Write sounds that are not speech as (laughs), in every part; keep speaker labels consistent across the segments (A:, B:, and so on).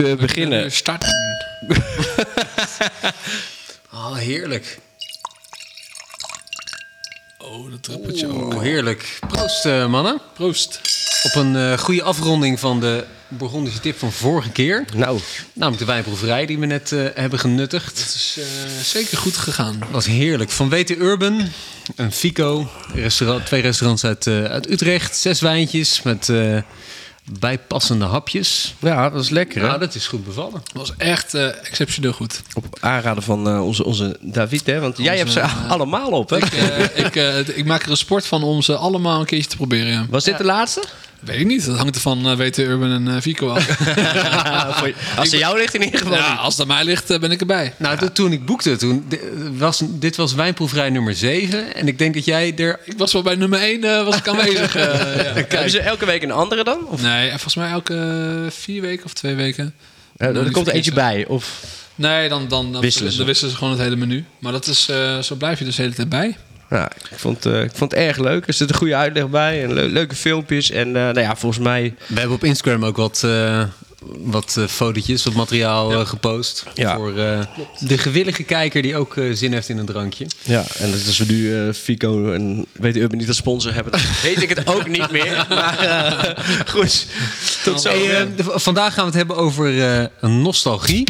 A: eh, beginnen.
B: We starten. oh, heerlijk.
A: Oh, dat trappetje
B: Oh, heerlijk. Proost, eh, mannen.
A: Proost.
B: Op een eh, goede afronding van de Burgondische tip van vorige keer.
A: Nou,
B: Namelijk de wijnproeverij die we net eh, hebben genuttigd.
A: het is eh, zeker goed gegaan.
B: Dat was heerlijk. Van WT Urban, een Fico, restaurant, twee restaurants uit, eh, uit Utrecht. Zes wijntjes met eh, bijpassende hapjes.
C: Ja, dat is lekker. hè?
B: Nou, dat is goed bevallen.
A: Het was echt eh, exceptioneel goed.
C: Op aanraden van eh, onze, onze David, hè? Want jij hebt ze allemaal op, hè?
A: Ik, eh, (laughs) ik, eh, ik maak er een sport van om ze allemaal een keertje te proberen. ja.
C: Was dit de laatste?
A: Weet ik niet. Dat hangt er van eh, WT Urban en eh, (laughs) Vico af.
C: (laughs) Voor je- Als ze jou ligt in ieder geval.
A: ja,
C: niet.
A: als dat mij ligt, eh, ben ik erbij.
B: Nou, dat- toen ik boekte, toen, di- was, dit was wijnproeverij nummer 7. En ik denk dat jij er...
A: Ik was wel bij nummer 1 was ik aanwezig. eh, (laughs) ja.
C: Hebben ze elke week een andere dan? Of,
A: Nee, en volgens mij elke eh, vier weken of twee weken.
C: Eh,
A: Nou,
C: er
A: die
C: komt er eentje
A: verkiezen.
C: bij. Of,
A: Nee, dan, dan, dan,
C: Wisselen ze.
A: wisselen, ze. dan wisselen ze gewoon het hele menu. Maar dat is, eh, zo blijf je dus de hele tijd (laughs) bij.
C: nou, ik, vond, eh, ik vond het erg leuk. Er zit een goede uitleg bij. En le- leuke filmpjes. En eh, nou ja, volgens mij...
B: We hebben op Instagram ook wat, eh wat eh, fotootjes, wat materiaal eh, gepost.
C: Ja.
B: Voor eh, de gewillige kijker die ook eh, zin heeft in een drankje.
C: Ja, en dat is we nu eh, Fico en weet Urban niet als sponsor hebben... dan (laughs) weet ik het ook niet meer. (laughs) Maar eh, goed, tot zo.
B: Hey, eh, de- vandaag gaan we het hebben over eh, nostalgie.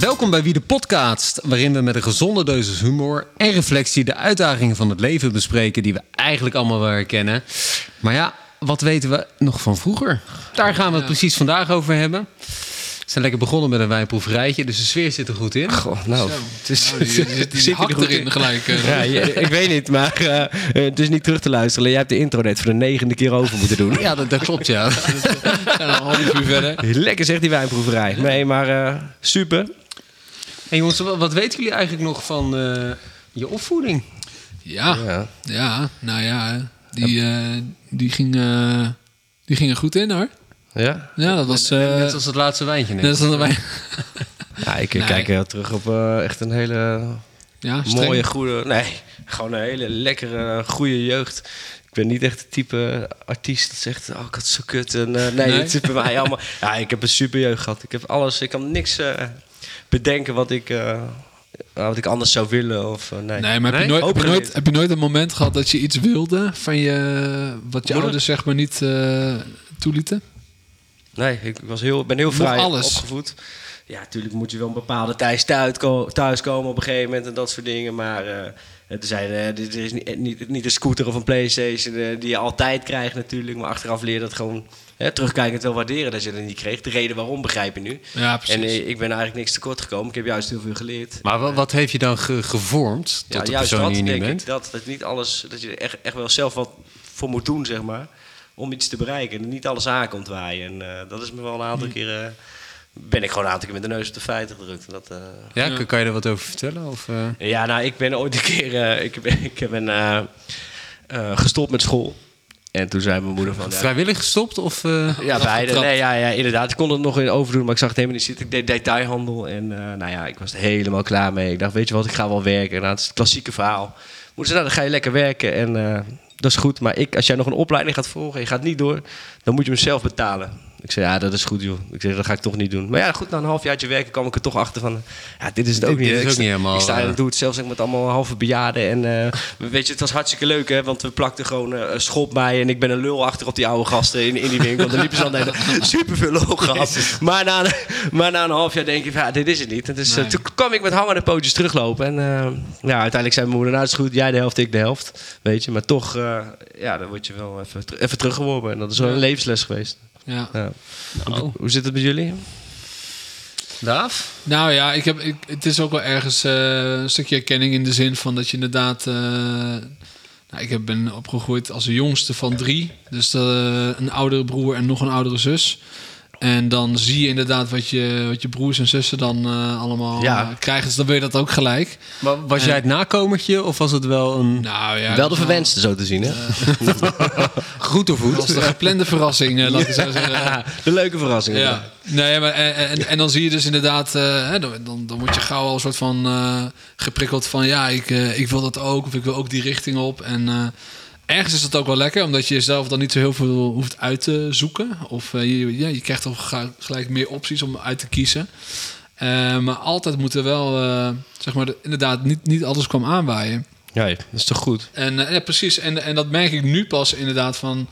B: Welkom bij Wie de Podcast, waarin we met een gezonde dosis humor en reflectie de uitdagingen van het leven bespreken die we eigenlijk allemaal wel herkennen. Maar ja, wat weten we nog van vroeger? Daar gaan we het precies vandaag over hebben. We zijn lekker begonnen met een wijnproeverijtje, dus de sfeer zit er goed in.
C: Goh, nou,
A: Zo.
C: het is,
A: Nou, die, die,
C: het
A: die,
C: (laughs)
A: die
C: zit
A: hakt
C: er goed
A: erin
C: in.
A: gelijk. eh.
C: Ja, je- ik weet niet, maar eh, eh, het is niet terug te luisteren. Jij hebt de intro net voor de negende keer over moeten
A: (laughs)
C: doen.
B: Ja, dat, dat klopt, ja.
A: En een half uur verder.
C: Lekker zegt die wijnproeverij. Nee, maar eh, super.
B: Hey jongens, wa- wat weten jullie eigenlijk nog van eh, je opvoeding?
C: Eh,
A: Ja, ja,
C: Ja.
A: nou ja. Die, eh, die, ging, eh, die ging er goed in hoor.
C: Ja,
A: Ja, dat was... eh,
B: Net als het laatste wijntje net.
A: net als dat wij...
C: ik
A: Nee.
C: kijk heel terug op eh, echt een hele
A: Ja, streng.
C: mooie, goede... Nee, gewoon een hele lekkere, goede jeugd. Ik ben niet echt het type artiest dat zegt, oh, ik had zo kut. En, eh, nee,
A: Nee?
C: het zit bij mij
A: (laughs)
C: allemaal... Ja, ik heb een super jeugd gehad. Ik heb alles, ik kan niks eh, bedenken wat ik, eh, wat ik anders zou willen. Of, eh, nee.
A: Nee, maar heb je,
C: Nee?
A: nooit, heb, je
C: Hoop
A: nooit, heb je nooit een moment gehad dat je iets wilde van je, wat je
C: Moeder?
A: ouders zeg maar niet eh, toelieten?
C: Nee, ik was heel, ben heel
A: Nog
C: vrij
A: alles.
C: opgevoed. Ja, natuurlijk moet je wel een bepaalde tijd thuis komen op een gegeven moment en dat soort dingen. Maar eh, er, zijn, eh, er er is niet, niet, niet een scooter of een Playstation eh, die je altijd krijgt natuurlijk. Maar achteraf leer je dat gewoon hè, terugkijkend wel waarderen dat je dat niet kreeg. De reden waarom begrijp je nu.
A: Ja,
C: En eh, ik ben eigenlijk niks tekort gekomen. Ik heb juist heel veel geleerd.
B: Maar wa- wat heeft je dan ge- gevormd tot de
C: juist
B: persoon die je nu
C: denk
B: bent?
C: ik. Dat, dat, niet alles, dat je er echt, echt wel zelf wat voor moet doen, zeg maar. Om iets te bereiken. En niet alles aankomt waaien. En eh, dat is me wel een aantal keer... eh, ben ik gewoon een aantal keer met de neus op de feiten gedrukt. En Dat, eh,
B: Ja,
A: Ja.
B: kun- Kan je er wat over vertellen? Of, eh?
C: ja, nou, ik ben ooit een keer... eh, ik, (laughs) ben, ik ben eh, eh, gestopt met school. En toen zei mijn
B: (laughs)
C: moeder van... ja,
B: Vrijwillig gestopt? Of, eh,
C: Oh, ja, beide.
A: afgetrapt.
C: Nee, ja, ja, inderdaad. Ik kon het nog in overdoen, maar ik zag het helemaal niet zitten. Ik deed detailhandel en eh, nou ja, ik was er helemaal klaar mee. Ik dacht, weet je wat, ik ga wel werken. Nou, het is het klassieke verhaal. Moeten ze, nou, dan ga je lekker werken en eh, dat is goed. Maar ik, als jij nog een opleiding gaat volgen en je gaat niet door, dan moet je hem zelf betalen. Ik zei, ja, dat is goed, joh. Ik zei, dat ga ik toch niet doen. Maar ja, goed, na een halfjaartje werken kwam ik er toch achter van... Ja, dit is het ook
B: Dit-
C: niet.
B: dit is
C: Ik
B: ook
C: sta-
B: niet helemaal,
C: Ik sta
B: eh,
C: en doe het zelfs ook met allemaal halve bejaarden. En eh, weet je, het was hartstikke leuk, hè? Want we plakten gewoon eh, een schop bij. En ik ben een lul achter op die oude gasten in, in die winkel. Dan liepen ze al
B: (laughs)
C: super veel lol gehad. Maar na, een- maar na een half jaar denk ik, van, ja, dit is het niet. En dus eh,
A: Nee.
C: toen kwam ik met hangende pootjes teruglopen. En eh, ja, uiteindelijk zei mijn moeder, nou, het is goed. Jij de helft, ik de helft. Weet je, maar toch, eh, ja, dan word je wel even, ter- even teruggeworpen. En dat is wel een levensles geweest.
A: Ja.
C: Ja.
B: Nou,
C: Hoe zit het met jullie?
B: Daaf?
A: Nou ja, ik heb, ik, het is ook wel ergens eh, een stukje herkenning in de zin van dat je inderdaad. eh, nou, ik heb- ben opgegroeid als de jongste van drie. Dus eh, een oudere broer en nog een oudere zus. En dan zie je inderdaad wat je, wat je broers en zussen dan eh, allemaal
C: Ja.
A: eh, krijgen. Dus dan wil je dat ook gelijk.
B: Maar was jij het nakomertje of was het wel een
A: Nou ja,
C: Wel de
A: dat is
C: verwenste, zo te zien, hè?
B: goed of
A: Dat was de
B: goed?
A: geplande verrassing, eh, laat ik
C: (laughs)
A: zo zeggen.
C: Ja, de leuke verrassing.
A: Ja. Nee, maar, en, en, en dan zie je dus inderdaad, eh, hè, dan, dan, dan word je gauw al een soort van eh, geprikkeld van ja, ik, eh, ik wil dat ook of ik wil ook die richting op. En eh, ergens is dat ook wel lekker, omdat je jezelf dan niet zo heel veel hoeft uit te zoeken. Of eh, je, ja, je krijgt toch ga- gelijk meer opties om uit te kiezen. Eh, maar altijd moet er wel, eh, zeg maar, de- inderdaad, niet, niet alles kwam aanwaaien.
C: Ja, dat is toch goed?
A: En eh, ja, precies. En, en dat merk ik nu pas inderdaad van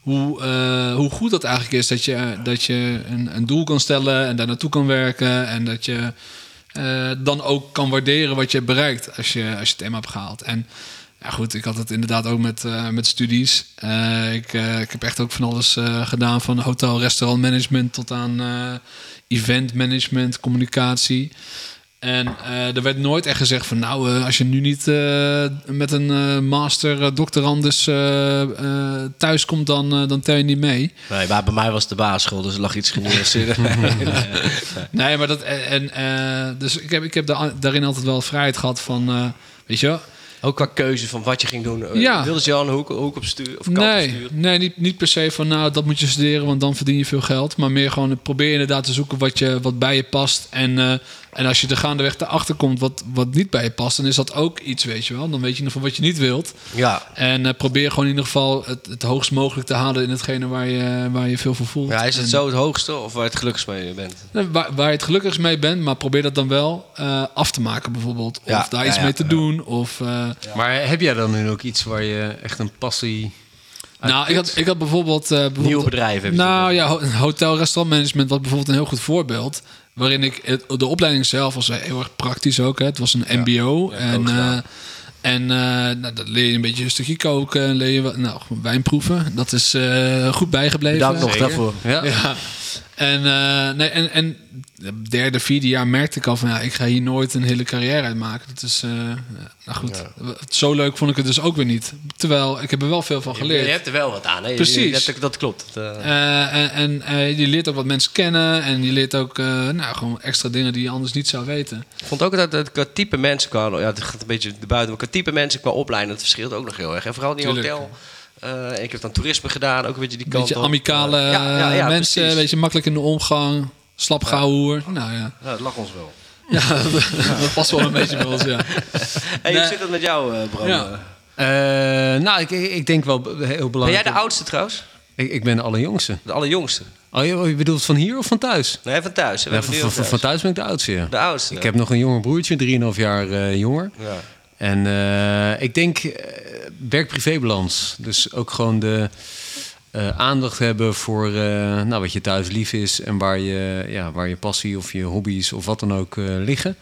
A: hoe, eh, hoe goed dat eigenlijk is. Dat je, eh, dat je een, een doel kan stellen en daar naartoe kan werken. En dat je eh, dan ook kan waarderen wat je hebt bereikt als je, als je het eenmaal hebt gehaald. En ja, goed, ik had het inderdaad ook met, eh, met studies. Eh, ik, eh, ik heb echt ook van alles eh, gedaan. Van hotel, restaurant management tot aan eh, event management, communicatie. En eh, er werd nooit echt gezegd van nou, eh, als je nu niet eh, met een eh, master eh, doctorandus eh, eh, thuis komt, dan, eh, dan tel je niet mee.
C: Nee, maar bij mij was het de basisschool, dus er lag iets genuanceerd.
A: (laughs) Nee, maar dat. En, eh, dus ik heb, ik heb da- daarin altijd wel vrijheid gehad van. eh, weet je wel?
C: Ook qua keuze van wat je ging doen. Eh,
A: Ja.
C: Wilde je al een hoek, hoek op stuur of kant op
A: Nee,
C: sturen?
A: nee niet, niet per se van nou, dat moet je studeren, want dan verdien je veel geld. Maar meer gewoon probeer inderdaad te zoeken wat, je, wat bij je past. En, eh, en als je er gaandeweg erachter komt wat, wat niet bij je past, dan is dat ook iets, weet je wel. Dan weet je in ieder geval wat je niet wilt.
C: Ja.
A: En eh, probeer gewoon in ieder geval het, het hoogst mogelijk te halen in hetgene waar je, waar je veel voor voelt.
C: ja. Is het
A: En,
C: zo het hoogste of waar je het gelukkigst mee bent?
A: eh, Waar, waar je het gelukkigst mee bent, maar probeer dat dan wel eh, af te maken bijvoorbeeld. Of
C: Ja,
A: daar
C: ja,
A: iets
C: ja,
A: mee te
C: ja.
A: doen. Of, eh,
B: Maar heb jij dan nu ook iets waar je echt een passie...
A: nou, ik had, ik had bijvoorbeeld... eh, bijvoorbeeld
C: Nieuwe bedrijven. heb je
A: Nou ja, ho- hotel, restaurantmanagement was bijvoorbeeld een heel goed voorbeeld. Waarin ik het- de opleiding zelf was heel erg praktisch ook. Hè. Het was een MBO.
C: Ja,
A: en
C: ook gedaan.
A: eh, en eh, nou, dat leer je een beetje een stukje koken. en Leer je wat, nou, gewoon wijn proeven. Dat is eh, goed bijgebleven.
C: Bedankt nog
B: Zeker.
C: daarvoor.
B: Ja.
A: Ja. En, eh, nee, en, en het derde, vierde jaar merkte ik al van ja, ik ga hier nooit een hele carrière uit maken. Dat is, eh, nou goed, zo leuk vond ik het dus ook weer niet. Terwijl ik heb er wel veel van
C: Je,
A: geleerd.
C: je hebt er wel wat aan. Hè? Je- je
A: Precies.
C: hebt- dat klopt. Dat, eh,
A: Eh, en en eh, je leert ook wat mensen kennen en je leert ook eh, nou, gewoon extra dingen die je anders niet zou weten.
C: Ik vond ook dat het qua type mensen qua, ja, het gaat een beetje de buiten, maar qua type mensen qua opleiding, dat verschilt ook nog heel erg. En vooral die
A: Tuurlijk.
C: hotel. eh, ik heb dan toerisme gedaan, ook een beetje die
A: Een
C: kant
A: beetje
C: op.
A: amicale
C: Ja, ja, ja,
A: eh, mensen,
C: precies.
A: een beetje makkelijk in de omgang, slap hoer. Nou ja, (laughs)
C: Ja, dat lag ons wel.
A: ja dat, past wel een beetje bij ons, ja.
C: Hey, hoe
A: Nee.
C: zit dat met jou, eh Bram?
A: Ja.
C: Eh,
B: Eh, nou, ik, ik ik denk wel b- heel
C: Ben
B: belangrijk.
C: jij de oudste trouwens?
B: ik, ik ben de allerjongste.
C: De allerjongste?
B: Oh, je, je bedoelt van hier of van thuis?
C: Nee, van thuis. hè? We hebben
B: Ja, van,
C: nu
B: van,
C: ook thuis.
B: van thuis ben ik de oudste, ja.
C: De oudste.
B: Ik heb nog een jonger broertje, 3,5 jaar eh, jonger.
C: Ja.
B: En eh, ik denk eh, werk-privébalans. Dus ook gewoon de eh, aandacht hebben voor eh, nou, wat je thuis lief is en waar je, ja, waar je passie of je hobby's of wat dan ook eh, liggen.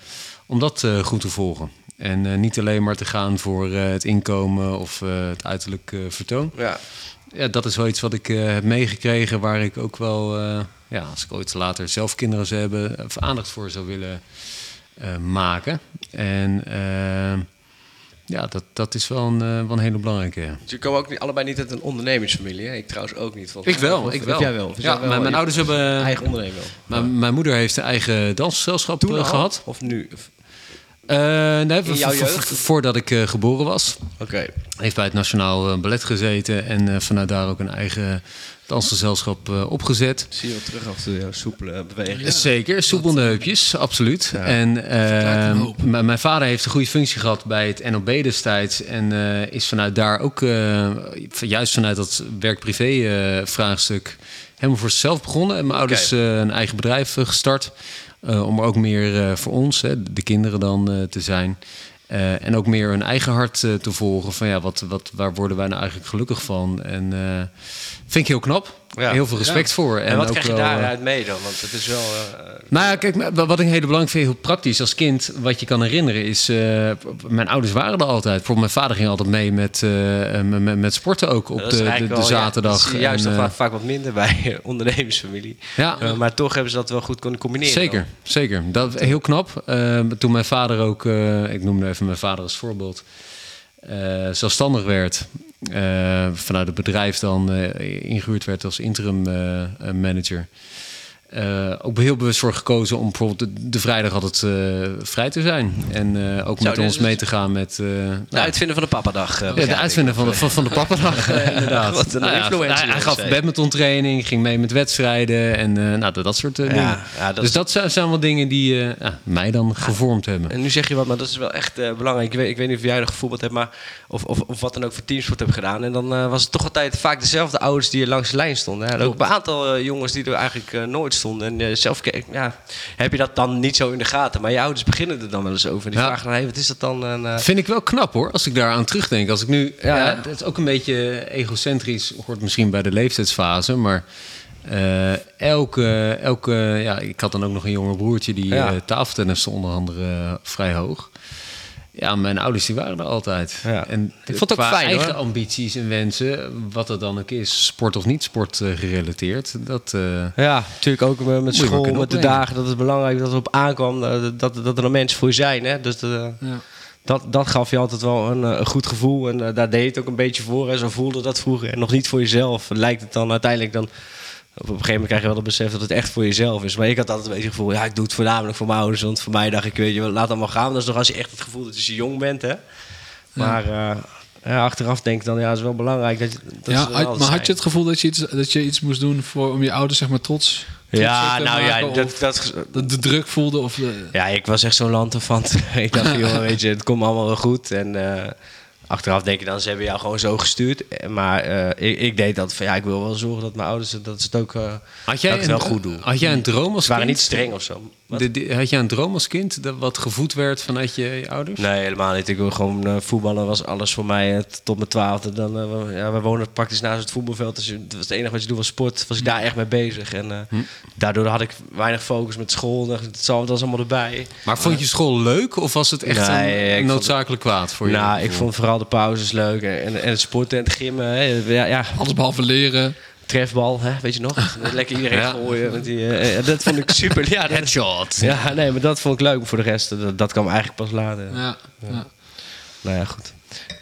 B: Om dat eh, goed te volgen. En eh, niet alleen maar te gaan voor eh, het inkomen of eh, het uiterlijk eh, vertoon.
C: Ja.
B: Ja, dat is wel iets wat ik eh, heb meegekregen, waar ik ook wel, eh, ja, als ik ooit later zelf kinderen zou hebben, eh, aandacht voor zou willen eh, maken. En eh, ja, dat, dat is wel een, eh, wel een hele belangrijke. ja.
C: Dus je kwam ook niet, allebei niet uit een ondernemersfamilie. Hè? Ik trouwens ook niet. want-
B: Ik wel,
C: Of-
B: ik
C: of
B: wel.
C: Jij wel. Of
B: Ja,
C: jij wel?
B: mijn, mijn
C: Je-
B: ouders eh, hebben.
C: Eigen ondernemer wel.
B: Mijn, mijn moeder heeft een eigen dansgezelschap eh,
C: al?
B: gehad.
C: Of nu? Of-
B: Eh, nee,
C: In jouw
B: vo- vo-
C: jeugd?
B: Voordat ik eh, geboren was.
C: Oké.
B: heeft bij het Nationaal eh, Ballet gezeten en eh, vanuit daar ook een eigen dansgezelschap eh, opgezet.
C: Zie je wel terug achter jouw soepele eh, beweging.
B: Zeker, soepel neupjes, absoluut. En
A: verklaart een
B: ehm,
A: hoop.
B: m- mijn vader heeft een goede functie gehad bij het NOB destijds. En eh, is vanuit daar ook, eh, van- juist vanuit dat werk-privé eh, vraagstuk, helemaal voor zichzelf begonnen. En mijn ouders eh, een eigen bedrijf eh, gestart. eh, om er ook meer eh, voor ons, hè, de kinderen dan, eh, te zijn. Eh, en ook meer hun eigen hart eh, te volgen. Van ja, wat, wat, waar worden wij nou eigenlijk gelukkig van? En eh, vind ik heel knap.
C: Ja.
B: Heel veel respect voor.
C: En, wat
B: ook
C: krijg je
B: wel, eh,
C: daaruit mee dan? Want het is wel... eh,
B: nou ja, kijk, maar wat ik heel belangrijk vind, heel praktisch als kind, wat je kan herinneren, is. eh, mijn ouders waren er altijd. Bijvoorbeeld, mijn vader ging altijd mee met, eh, met, met- met sporten ook op
C: dat
B: de,
C: is
B: de,
C: eigenlijk
B: de
C: wel, ja, dat
B: zaterdag.
C: zie je juist
B: En,
C: nog
B: eh,
C: vaak, vaak wat minder bij (laughs) eh, ondernemersfamilie.
B: ja,
C: Eh, maar toch hebben ze dat wel goed kunnen combineren.
B: zeker. Zeker. Dat, heel knap. Eh, toen mijn vader ook, eh, ik noemde even mijn vader als voorbeeld, eh, zelfstandig werd. eh, vanuit het bedrijf dan eh, ingehuurd werd als interim eh, eh, manager. eh, ook heel bewust voor gekozen om bijvoorbeeld de, de vrijdag altijd eh, vrij te zijn. En eh, ook
C: Zo,
B: met
C: dus-
B: ons mee te gaan met eh, nou,
C: De uitvinder van de pappadag. eh,
B: ja,
C: begrijp
B: de
C: ik.
B: uitvinder van de, van, van de (laughs) pappendag, eh, inderdaad.
C: Wat een
B: Nou ja,
C: influencer
B: Hij, hij
C: is
B: gaf
C: hij.
B: badminton training, ging mee met wedstrijden en eh, nou, dat, dat soort eh,
C: Ja,
B: dingen.
C: ja, dat
B: dus
C: is-
B: dat zijn- zijn wel dingen die eh, ja, mij dan gevormd hebben.
C: En nu zeg je wat, maar dat is wel echt eh, belangrijk. Ik weet, ik weet niet of jij nog gevoetbald hebt, maar of, of, of wat dan ook voor teamsport hebt gedaan. En dan eh, was het toch altijd vaak dezelfde ouders die er langs de lijn stonden. Hè? En Ook een aantal eh, jongens die er eigenlijk eh, nooit stonden. En eh, zelf ke- ja, heb je dat dan niet zo in de gaten. Maar je ouders beginnen er dan wel eens over. En die
B: Ja.
C: vragen dan, hey, wat is dat dan? En, eh,
B: Vind ik wel knap hoor, als ik daaraan terugdenk. Als ik nu, ja,
C: Ja.
B: het is ook een beetje egocentrisch, hoort misschien bij de leeftijdsfase, maar eh, elke, elke, ja, ik had dan ook nog een jonger broertje die
C: Ja.
B: eh tafeltenniste onder andere eh, vrij hoog. Ja, mijn ouders die waren er altijd.
C: Ja.
B: En
C: Ik vond het ook
B: qua
C: fijn, hoor.
B: eigen ambities en wensen, wat het dan ook is, sport of niet sport eh, gerelateerd, dat. eh,
C: Ja, natuurlijk ook met, met
B: je maar
C: school,
B: kunnen
C: met de
B: opbrengen.
C: dagen. Dat het belangrijk dat erop aankwam eh, dat, dat, dat er mensen voor je zijn. Hè? Dus eh,
A: Ja.
C: dat, dat gaf je altijd wel een, eh, een goed gevoel. En eh, daar deed je het ook een beetje voor. En zo voelde dat vroeger. En nog niet voor jezelf. Lijkt het dan uiteindelijk dan... Op een gegeven moment krijg je wel het besef dat het echt voor jezelf is. Maar ik had altijd een beetje het gevoel... Ja, ik doe het voornamelijk voor mijn ouders. Want voor mij dacht ik, weet je, wel, laat allemaal gaan. Dat is nog als je echt het gevoel dat je jong bent, hè. Maar eh, ja, achteraf denk ik dan... Ja, het is wel belangrijk dat je... Dat
A: ja,
C: ze er
A: had-
C: altijd
A: maar had
C: zijn.
A: je het gevoel dat je iets, dat je iets moest doen voor, om je ouders zeg maar trots, trots
C: Ja,
A: te
C: nou ja,
A: maken?
C: dat,
A: Of
C: dat,
A: de, de druk voelde? Of de,
C: Ja, ik was echt zo'n lanterfant. (laughs) ik
B: (laughs)
C: dacht, joh, weet je, het komt allemaal wel goed. En eh, achteraf denk je dan, ze hebben jou gewoon zo gestuurd. Eh, Maar eh, ik, ik deed dat van, ja, ik wil wel zorgen dat mijn ouders het- dat ze het ook, eh,
B: had jij
C: dat ik het
B: een-
C: wel goed doen.
B: Had jij een droom als
C: Ze waren
B: kind?
C: niet streng of zo. Wat?
B: De- de- had jij een droom als kind dat wat gevoed werd vanuit je, je ouders?
C: Nee, helemaal niet. Ik wil gewoon eh, voetballen was alles voor mij. eh, t- tot mijn twaalfde. Dan, eh, we- ja, we wonen praktisch naast het voetbalveld. Dus het was het enige wat je doet was sport. Was ik
B: Hm.
C: daar echt mee bezig. En eh, daardoor had ik weinig focus met school. Het zal- dat was allemaal erbij.
B: Maar vond je school leuk of was het echt
C: Nee, ik
B: een,
C: vond-
B: noodzakelijk kwaad voor je?
C: Nou, ik vond vooral de pauzes leuk. En, en het sporten en het gymmen. Hè. Ja, ja,
A: Alles behalve leren.
C: trefbal, hè, weet je nog? Lekker iedereen
B: Ja.
C: gooien. Met die, eh, eh, dat vond ik super. Ja, dat,
B: Headshot.
C: ja, nee, maar dat vond ik leuk. Maar voor de rest, eh, dat, dat kwam eigenlijk pas later.
A: Ja, ja.
C: Nou ja, goed.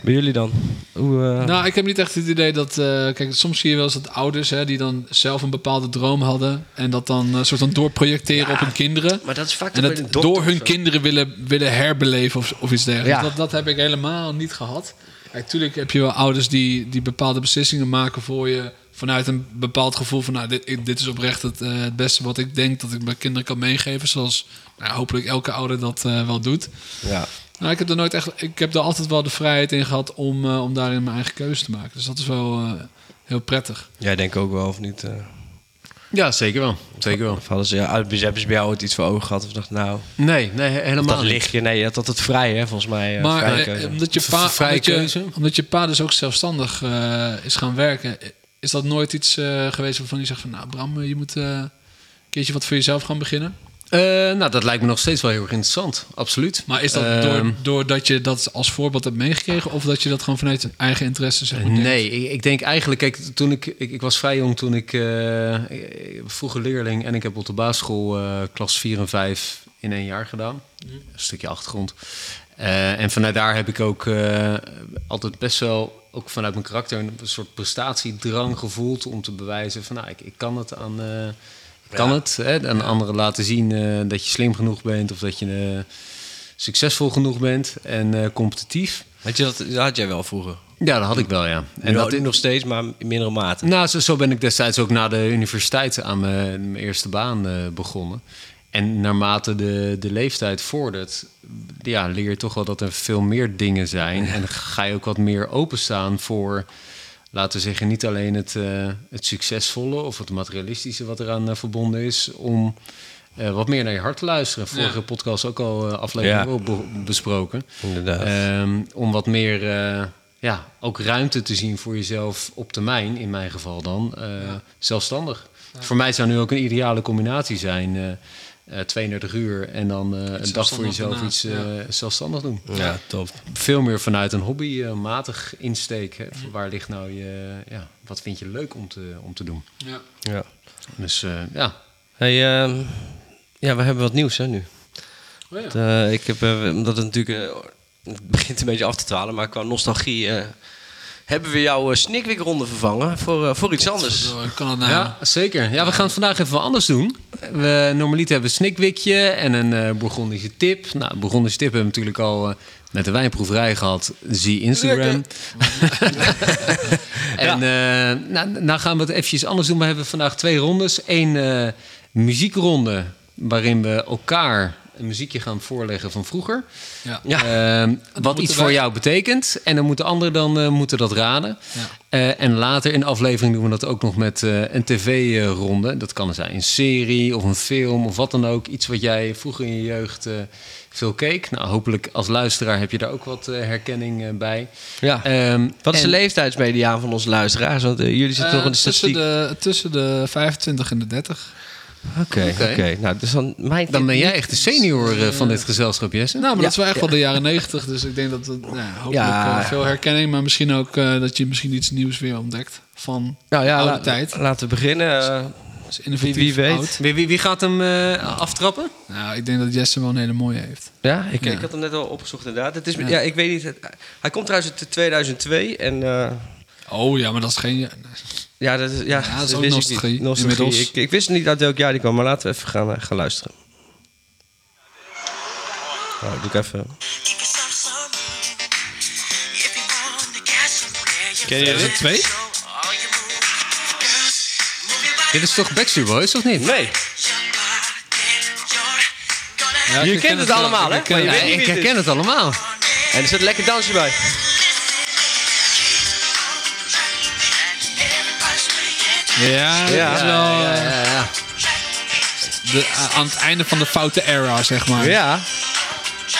C: Bij jullie dan? Hoe, eh,
A: Nou, ik heb niet echt het idee dat... eh, kijk, soms zie je wel eens dat ouders... Hè, die dan zelf een bepaalde droom hadden... en dat dan eh, soort van doorprojecteren op hun kinderen.
C: maar dat is vaak
A: En
C: toch bij de
A: dat
C: dokter
A: door hun
C: of zo.
A: kinderen willen, willen herbeleven of, of iets dergelijks.
C: Ja.
A: Dat, dat heb ik helemaal niet gehad. Natuurlijk heb je wel ouders die, die bepaalde beslissingen maken voor je... vanuit een bepaald gevoel van... nou, dit, ik- dit is oprecht het, eh, het beste wat ik denk... dat ik mijn kinderen kan meegeven. Zoals nou, hopelijk elke ouder dat eh, wel doet.
C: Ja.
A: Nou, ik heb er nooit echt. Ik heb er altijd wel de vrijheid in gehad om, eh, om daarin mijn eigen keuze te maken. Dus dat is wel eh, heel prettig.
C: Jij denkt ook wel, of niet? eh?
B: Ja, zeker wel. Zeker wel.
C: of hadden ze, ja, hebben ze bij jou ooit iets voor ogen gehad? Of dacht, nou,
B: Nee, nee he- helemaal
C: dat
B: niet.
C: lichtje. Nee, je had altijd vrij, hè, volgens mij. eh,
A: maar
C: vrije
A: eh,
C: keuze.
A: omdat, je
B: V-
A: pa,
B: vrije
A: omdat, je,
B: keuze.
A: omdat je pa dus ook zelfstandig eh, is gaan werken, eh, is dat nooit iets eh, geweest waarvan je zegt van nou Bram, eh, je moet eh, een keertje wat voor jezelf gaan beginnen.
B: Eh, nou, dat lijkt me nog steeds wel heel erg interessant. Absoluut.
A: Maar is dat
B: Ehm,
A: door, doordat je dat als voorbeeld hebt meegekregen, of dat je dat gewoon vanuit je eigen interesse zeg maar, denkt?
B: Nee, ik, ik denk eigenlijk, kijk, toen ik, ik, ik was vrij jong toen ik eh, ik- vroeger leerling en ik heb op de basisschool eh, klas 4 en 5 in één jaar gedaan.
C: Mhm.
B: Een stukje achtergrond. Eh, en vanuit daar heb ik ook eh, altijd best wel, ook vanuit mijn karakter, een soort prestatiedrang gevoeld om te bewijzen van nou, ik, ik kan het aan. eh, ik kan
C: Ja.
B: het. Hè, aan anderen laten zien eh, dat je slim genoeg bent of dat je eh, succesvol genoeg bent en eh, competitief.
C: Had, je dat, dat had jij wel vroeger.
B: Ja, dat had ik wel, ja.
C: En dat
B: is
C: nog steeds, maar in mindere mate.
B: nou, zo, zo ben ik destijds ook na de universiteit aan mijn, mijn eerste baan eh, begonnen. En naarmate de, de leeftijd vordert, ja, leer je toch wel dat er veel meer dingen zijn. En ga je ook wat meer openstaan voor, laten we zeggen, niet alleen het, eh, het succesvolle of het materialistische wat eraan eh, verbonden is, om eh, wat meer naar je hart te luisteren. Vorige
A: Ja.
B: podcast ook al eh, aflevering
C: Ja.
B: ook be- besproken.
C: Inderdaad.
B: Ehm, om wat meer eh, ja, ook ruimte te zien voor jezelf op termijn, in mijn geval dan, eh, zelfstandig. Voor mij zou nu ook een ideale combinatie zijn. eh, eh, 32 uur en dan eh, een dag voor
A: zelfstandig
B: jezelf
A: daarnaast,
B: iets eh, zelfstandig doen.
C: ja, top.
B: Veel meer vanuit een hobbymatig insteek. Hè. Waar ligt nou je, ja, wat vind je leuk om te, om te doen?
A: Ja.
C: Ja.
B: Dus eh, ja,
C: Hey, ehm, ja, we hebben wat nieuws hè, nu.
A: Oh, ja.
C: Want, eh, ik heb, eh, omdat het natuurlijk eh, het begint een beetje af te twalen, maar qua nostalgie eh, hebben we jouw uh, ronde vervangen voor, eh, voor iets anders.
A: Zo Kan het nou?
B: Ja, zeker. Ja, we gaan het vandaag even wat anders doen. We, normaliter hebben we een snikwickje en een eh Bourgondische tip. Nou, Bourgondische tip hebben we natuurlijk al eh, met de wijnproeverij gehad. Zie Instagram. (laughs) en eh, nou, nou gaan we het eventjes anders doen. We hebben vandaag twee rondes. Eén eh, muziekronde waarin we elkaar een muziekje gaan voorleggen van vroeger.
A: Ja.
C: Ja.
B: Ehm, wat
A: moeten
B: iets voor
A: wij-
B: jou betekent. En dan moet de ander dan eh, moeten dat raden.
A: Ja.
B: Eh, en later in de aflevering doen we dat ook nog met eh, een tv-ronde. Dat kan zijn een serie of een film of wat dan ook. Iets wat jij vroeger in je jeugd eh, veel keek. Nou, hopelijk als luisteraar heb je daar ook wat eh, herkenning eh, bij.
C: Ja.
B: Ehm,
C: Wat is
B: en-
C: de leeftijdsmediaan van onze luisteraars? Want eh, jullie zitten toch
A: Eh,
C: in de
A: tussen,
C: statistiek.
A: de, tussen de 25 en de 30.
C: Oké, oké.
B: Oké.
C: Nou, dus dan mijn
B: Dan ben jij echt de senior eh, van dit gezelschap, Jesse.
A: Nou, maar
C: Ja.
A: dat is wel echt wel de jaren 90. Dus ik denk dat het nou, ja, hopelijk
C: Ja.
A: eh, veel herkenning. Maar misschien ook eh, dat je misschien iets nieuws weer ontdekt. Van
C: Nou ja,
A: oude
C: la-
A: tijd.
C: laten we beginnen. eh,
A: is innovatief
C: Wie- wie weet.
A: oud.
B: Wie, wie, wie gaat hem eh, aftrappen?
A: Nou, ik denk dat Jesse wel een hele mooie heeft.
C: ja, ik,
A: Ja.
C: ik had hem net al opgezocht inderdaad. Het is, ja.
A: Ja.
C: ik weet niet. het- hij komt trouwens uit 2002 en eh,
A: Oh ja, maar dat is geen...
C: ja, dat is, ja,
A: dat is
C: dat
A: ook
C: wist ik
A: nostalgie,
C: niet. Nostalgie.
A: inmiddels.
C: Ik, ik wist niet uit welk jaar die kwam, maar laten we even gaan, eh, gaan luisteren. Nou, doe ik even.
D: Ken je
A: Is
D: dit?
A: het twee?
B: Dit is toch Backstreet Boys, of niet?
C: Nee,
A: Ja, ik
C: je
A: herken
C: kent het
A: wel.
C: allemaal, hè?
A: Ik herken
C: Maar je
A: het.
C: weet
B: Ja,
C: niet wie
B: ik
C: het is.
B: herken het allemaal.
C: En er zit lekker dansje bij.
A: Ja, dat
C: Ja.
A: is wel
B: Ja,
A: eh,
B: ja, ja.
A: de, eh, aan het einde van de foute era, zeg maar.
C: Ja.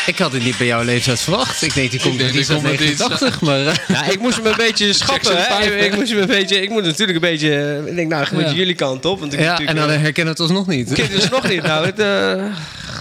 B: Ik had het niet bij jouw leeftijd verwacht. Ik denk, die komt
A: denk,
B: uit
A: die komt uit
B: 1980, maar... eh,
C: Ja, ik moest hem een beetje schappen.
A: Jackson
C: Hè?
A: vijf, hè?
C: Ik, moest hem een beetje, ik moet natuurlijk een beetje. Ik denk, nou, ik moet
A: Ja.
C: jullie kant op. Want ik
B: (laughs) ja, en
C: natuurlijk,
B: dan
C: eh,
B: herkennen we het alsnog niet.
C: ik ken dus nog niet. Nou, het, eh,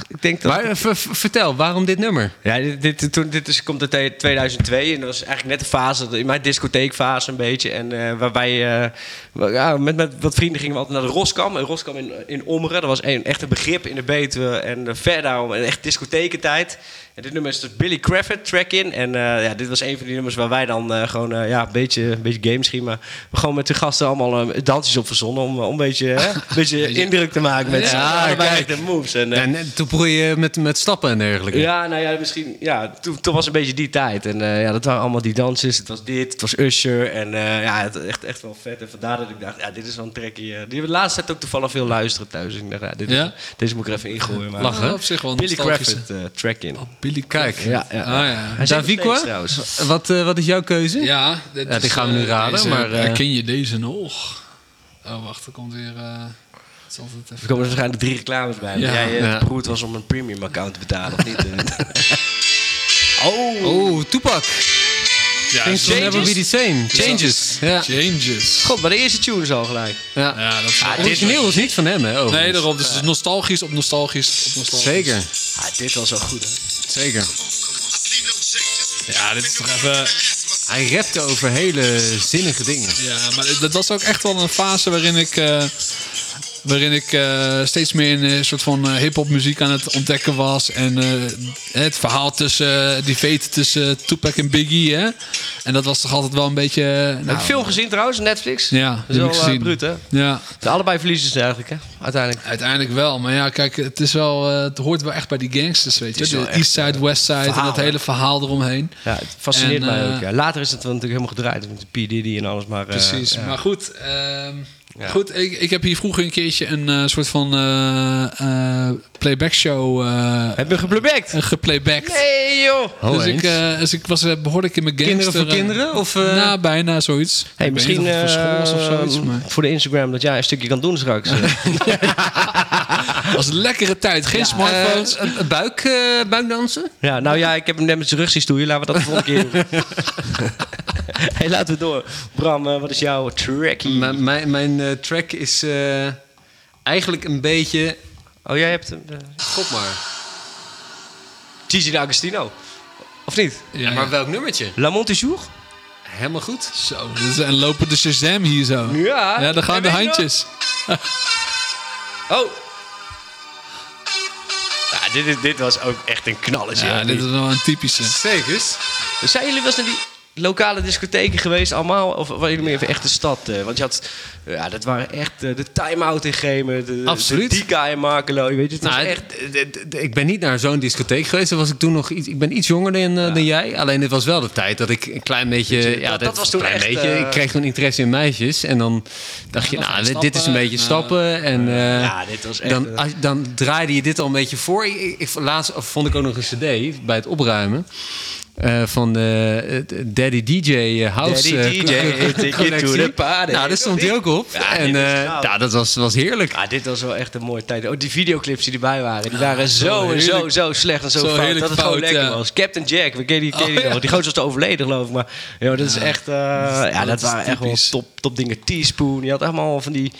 C: ik denk dat.
B: Maar eh, ver- ver- vertel, waarom dit nummer?
C: Ja, dit, dit, toen, dit is, komt uit 2002 en dat was eigenlijk net de fase, in mijn discotheekfase een beetje. En eh, waarbij, eh, wa- ja, met, met wat vrienden gingen we altijd naar de Roskam. En Roskam in, in Ommeren, dat was een, echt een begrip in de Betuwe en eh, verder, en echt discothekentijd. En dit nummer is dus Billy Crawford, Track In. En eh, ja, dit was een van die nummers waar wij dan eh, gewoon, eh, ja, een beetje, een beetje game misschien, maar we gewoon met de gasten allemaal eh, dansjes op verzonnen om, eh, om een, beetje, hè, een beetje indruk te maken met
B: Ja,
C: z'n allen bij
B: kijk.
C: de moves. En, eh,
B: En eh, toen proei je met, met stappen en dergelijke.
C: ja, nou ja, misschien. Ja, toen, toen was een beetje die tijd. En eh, ja, dat waren allemaal die dansjes. Het was dit, het was Usher. En eh, ja, het, echt, echt wel vet. En vandaar dat ik dacht, ja, dit is wel een trekje. Die hebben we de laatste tijd ook toevallig veel luisteren thuis. En ik dacht, ja, dit is-
A: Ja?
C: deze moet ik er even ingooien. Maar
A: Lachen. op zich wel een
C: Billy
A: nostalgische-
C: Crawford eh, track in.
A: Oh, Billy
B: Kijk.
A: Crawford.
C: Ja, ja.
A: Ah, ja.
C: Hij zingt nog
B: Davico?
C: steeds trouwens.
B: Wat, eh, wat is jouw keuze?
A: Ja, dit
B: Ja, die
A: is,
B: gaan we nu
A: eh,
B: raden,
A: deze-
B: maar, eh,
A: herken je deze nog? Oh, wacht, er komt weer... eh, het is altijd
C: Er
A: even...
C: komen waarschijnlijk drie reclames bij. Ja,
A: Ja.
C: jij eh,
B: Ja.
C: beroerd was om een premium account te betalen, of niet? (laughs) oh,
B: Oh, Toepak.
A: Ja,
B: Things will never be the same.
C: Changes.
B: Ja,
A: Changes.
C: god, maar de eerste tune is al gelijk.
B: ja.
A: Ja, dat is wel-
B: Origineel is niet van hem, hè? overigens.
A: Nee, daarom. Dus het is nostalgisch op nostalgisch op nostalgisch.
B: Zeker,
C: Ah, dit was wel goed, hè?
B: zeker.
A: Ja, dit is toch even...
B: Hij rapte over hele zinnige dingen.
A: Ja, maar dat was ook echt wel een fase waarin ik... eh, waarin ik eh, steeds meer in een soort van eh, hip-hop muziek aan het ontdekken was. En eh, het verhaal tussen... eh, die veet tussen Tupac en Biggie, hè. En dat was toch altijd wel een beetje... eh,
C: Heb
A: nou,
C: je veel gezien trouwens, Netflix?
A: Ja,
C: dat
A: heb
C: is
A: ik
C: wel eh,
A: gezien.
C: bruut, hè?
A: Ja,
C: De allebei verliezen ze eigenlijk, hè? Uiteindelijk.
A: uiteindelijk wel. Maar ja, kijk, het, is wel, eh, het hoort wel echt bij die gangsters, weet
C: Het is
A: je.
C: wel
A: De
C: echt, eh,
A: East Side, West Side en
C: verhaal,
A: dat
C: hè?
A: hele verhaal eromheen.
C: Ja, het fascineert
A: En,
C: mij
A: eh,
C: ook. Ja. Later is het wel natuurlijk helemaal gedraaid met de P. Diddy en alles, maar... eh,
A: Precies,
C: ja.
A: maar goed. ehm,
C: Ja.
A: Goed, ik, ik heb hier vroeger een keertje een eh, soort van eh, eh, playback show eh
C: Heb je hem geplubbekt?
A: geplaybacked.
C: Nee, joh!
B: Ho,
A: dus, ik,
B: eens.
A: eh, dus ik was eh, behoorlijk in mijn
B: Kinderen
A: gangster...
B: voor kinderen? Of, eh,
A: Nou, bijna zoiets.
C: Hey,
A: Ik weet niet
C: misschien
A: of het voor school was of
C: eh,
A: zoiets. Maar.
C: voor de Instagram dat jij een stukje kan doen
A: (laughs)
C: straks.
A: Het was een lekkere tijd, geen smartphones.
B: Eh, eh, buik, eh, buikdansen?
C: ja, nou ja, ik heb hem net met zijn rug zien stoeien. Laten we dat de volgende keer doen.
A: (laughs)
C: hey, laten we door. Bram, eh, wat is jouw trackie?
B: M- mijn mijn eh, track is eh, eigenlijk een beetje...
C: Oh, jij hebt hem. eh,
B: God maar.
C: Gigi D'Agostino. Of niet?
A: Ja,
B: Maar
A: ja.
B: welk nummertje?
C: La Montejour?
B: Helemaal goed.
A: Zo, dit is een lopende Shazam hier zo.
C: Ja.
A: Ja, daar gaan
C: En
A: de
C: weet je
A: handjes.
C: Oh. Ja, dit, is, dit was ook echt een knalletje.
A: Ja,
C: hoor.
A: dit is wel een typische.
B: Zeker.
C: Zijn jullie wel eens naar die lokale discotheken geweest allemaal? Of waren jullie meer even echt de stad? eh? want je had, ja, dat waren echt eh, de time-out in Gemen. De,
B: Absoluut.
C: De Dika in Markelo. Je weet het, het
B: Nou,
C: was echt...
B: d- d- d- ik ben niet naar zo'n discotheek geweest. Dat was ik toen nog iets. Ik ben iets jonger dan, eh, dan jij. Alleen het was wel de tijd dat ik een klein beetje.
C: je,
B: ja,
C: dat- dat was toen
B: klein
C: echt,
B: beetje.
C: eh,
B: Ik kreeg toen interesse in meisjes. En dan dacht je,
A: dan
B: nou,
A: gaan
B: dit is een beetje
A: stappen en, eh,
B: stappen. En, eh,
C: ja, dit was echt...
B: dan,
C: eh,
B: als- dan draaide je dit al een beetje voor. Ik, ik- ik- laatst vond ik ook nog een cd bij het opruimen. eh, van de eh, Daddy DJ House.
C: Daddy
B: eh, (laughs)
C: DJ,
B: co- co-
C: take it to
B: collectie.
C: the party.
B: Nou, daar stond hij ook op.
C: Ja,
B: en
C: dit is
B: eh,
C: goud.
B: ja, dat was, was heerlijk.
C: Ah, dit was wel echt een mooie tijd. Oh, die videoclips die erbij waren,
A: Ah,
C: die waren zo en zo,
A: heerlijk.
C: zo slecht en zo,
A: Zo
C: fout
A: heerlijk
C: dat het gewoon
A: fout,
C: lekker
A: ja.
C: was. Captain Jack, we kennen die, ken je die
A: Oh, ja.
C: nog. Die gozer was te overleden geloof ik, maar joh, dat is echt, eh, ja, dat,
A: dat is
C: waren echt wel
A: typisch.
C: top, top dingen. Teaspoon, je had allemaal van die,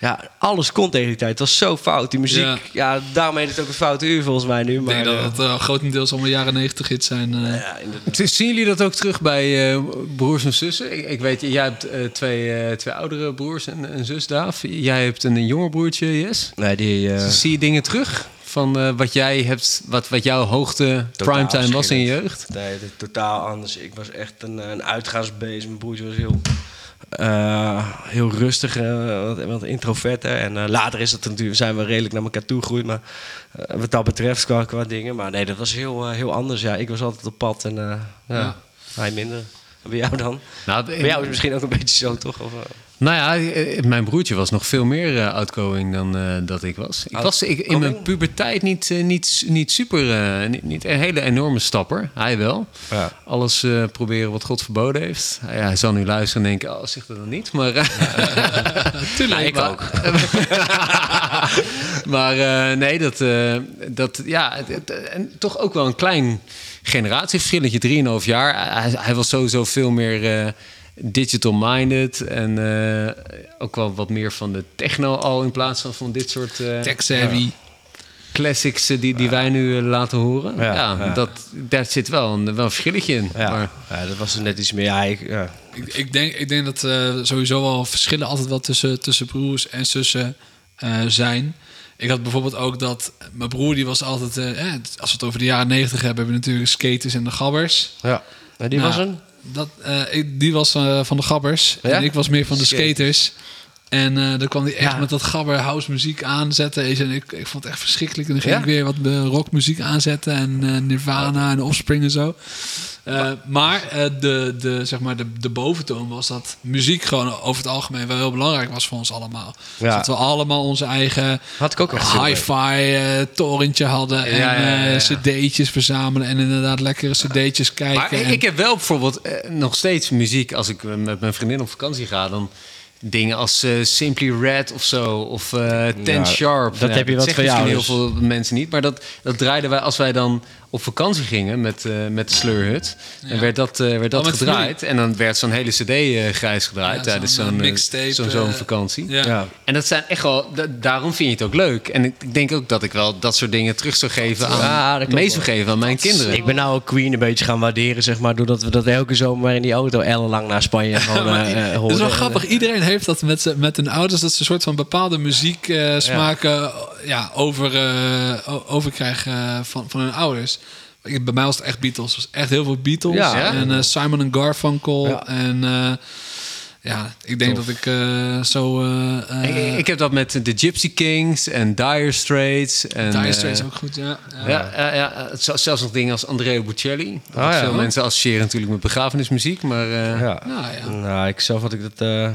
C: ja, alles kon tegen die tijd. Het was zo fout, die muziek. Ja,
A: Ja.
C: daarmee heet het ook een foute uur volgens mij nu,
A: Ik
C: maar...
A: denk
C: eh,
A: dat het eh, grotendeels allemaal jaren negentig hits zijn. eh.
C: ja, inderdaad.
B: Zien jullie dat ook terug bij eh, broers en zussen? Ik, ik weet, jij hebt eh, twee, eh, twee oudere broers en een zus, Daaf. Jij hebt een, jonger broertje, Yes.
C: nee, die... eh,
B: Zie je dingen terug van eh, wat jij hebt, wat, wat jouw hoogte
C: Totaal
B: primetime was in je
C: verschillend.
B: jeugd?
C: Nee, het is totaal anders. Ik was echt een, eh, een uitgaansbeest. Mijn broertje was heel, eh, heel rustig, eh, wat, wat introverter. En eh, later is dat natuurlijk, zijn we redelijk naar elkaar toe gegroeid. Maar eh, wat dat betreft qua, qua dingen. Maar nee, dat was heel, eh, heel anders. Ja, ik was altijd op pad en eh, ja,
A: Ja.
C: hij minder. En Bij jou dan?
B: Nou,
C: Bij jou is het misschien ook een beetje zo, toch? Of, eh,
B: Nou ja, eh, mijn broertje was nog veel meer eh, outgoing dan eh, dat ik was. Ik was ik, in mijn
C: Outgoing?
B: puberteit niet, eh, niet, niet super, eh, niet, niet een hele enorme stapper. Hij wel.
C: Ja.
B: Alles eh, proberen wat God verboden heeft. Ah ja, hij zal nu luisteren en denken, oh, zeg dat dan niet. Maar,
C: (laughs)
B: (laughs) Tuurlijk,
C: ik
B: maar,
C: ook.
B: (laughs) maar eh, nee, dat, eh, dat ja, het- het- en toch ook wel een klein generatieverschilletje, 3,5 jaar. Hij, hij was sowieso veel meer eh, digital-minded en eh, ook wel wat meer van de techno al in plaats van van dit soort eh,
A: Tech savvy.
B: classics eh, die, die wij nu eh, laten horen. Ja,
C: Ja, ja.
B: Dat, daar zit wel een, wel een verschilletje in.
C: ja.
B: Maar,
C: Ja, dat was er net iets meer. Ja, ik, ja.
A: Ik, ik, denk, ik denk dat eh, sowieso wel verschillen altijd wel tussen, tussen broers en zussen eh, zijn. Ik had bijvoorbeeld ook dat mijn broer, die was altijd, eh, eh, als we het over de jaren negentig hebben, hebben we natuurlijk skaters en de gabbers.
C: ja. Maar die
A: Nou,
C: was een?
A: Dat, eh, ik- die was eh, van de gabbers
C: Ja?
A: en ik was meer van de
C: Skaters.
A: skaters. En eh dan kwam hij echt
C: Ja.
A: met dat gabber house muziek aanzetten. En ik, ik vond het echt verschrikkelijk. En dan ging
C: Ja?
A: ik weer wat eh, rockmuziek aanzetten. En eh, Nirvana en Offspring en zo. Eh, maar eh, de, de, zeg maar de, de boventoon was dat muziek gewoon over het algemeen wel heel belangrijk was voor ons allemaal.
C: Ja.
A: Dus dat we allemaal onze eigen
C: Had ik ook echt zo mee.
A: hi-fi eh, torentje hadden. En
B: Ja, ja, ja, ja.
A: eh, cd'tjes verzamelen. En inderdaad lekkere cd'tjes kijken.
B: Maar ik,
A: en-
B: ik heb wel bijvoorbeeld eh, nog steeds muziek. Als ik eh, met mijn vriendin op vakantie ga, dan dingen als eh, Simply Red of zo. Of eh Ten
C: Ja,
B: Sharp.
C: dat heb je wat
B: zegt
C: van jou,
B: misschien
C: dus.
B: heel veel mensen niet. Maar dat, dat draaiden wij als wij dan op vakantie gingen met, eh, met de Sleurhut. Dan
A: Ja.
B: werd dat, eh, werd dat
A: met
B: gedraaid. En dan werd zo'n hele cd eh, grijs gedraaid
A: Ja,
B: tijdens
A: zo'n, eh,
B: zo'n eh,
A: mixtape,
B: zo'n zo'n
A: eh,
B: vakantie.
A: ja.
C: Ja.
B: En dat zijn echt wel, da- daarom vind je het ook leuk. En ik, ik denk ook dat ik wel dat soort dingen terug zou geven aan,
C: Ja, dat klopt
B: mee
C: wel.
B: zou geven aan mijn kinderen.
C: Ik ben nou ook Queen een beetje gaan waarderen, zeg maar, doordat we dat elke zomer in die auto ellenlang naar
A: (laughs)
C: Spanje gewoon eh, eh, hoorden.
A: Het is wel grappig. Iedereen heeft dat met, z'n- met hun ouders. Dat ze een soort van bepaalde muziek eh, smaken ja. over, eh, o- overkrijgen eh, van, van hun ouders. Ik, bij mij was het echt Beatles. Het was echt heel veel Beatles.
C: Ja, hè?
A: en eh, Simon en Garfunkel.
C: Ja.
A: En eh, ja, ik denk dat ik eh, zo... eh, eh,
B: ik, ik heb dat met de Gypsy Kings en Dire Straits. En,
A: Dire Straits
B: eh,
A: ook goed, ja. ja.
B: ja, ja, ja, het is zelfs nog dingen als Andrea Bocelli. Dat
C: Ah, ja.
B: Veel mensen associëren natuurlijk met begrafenismuziek, maar... eh,
C: Ja.
A: Nou, ja.
C: Nou, ik zelf had ik dat eh,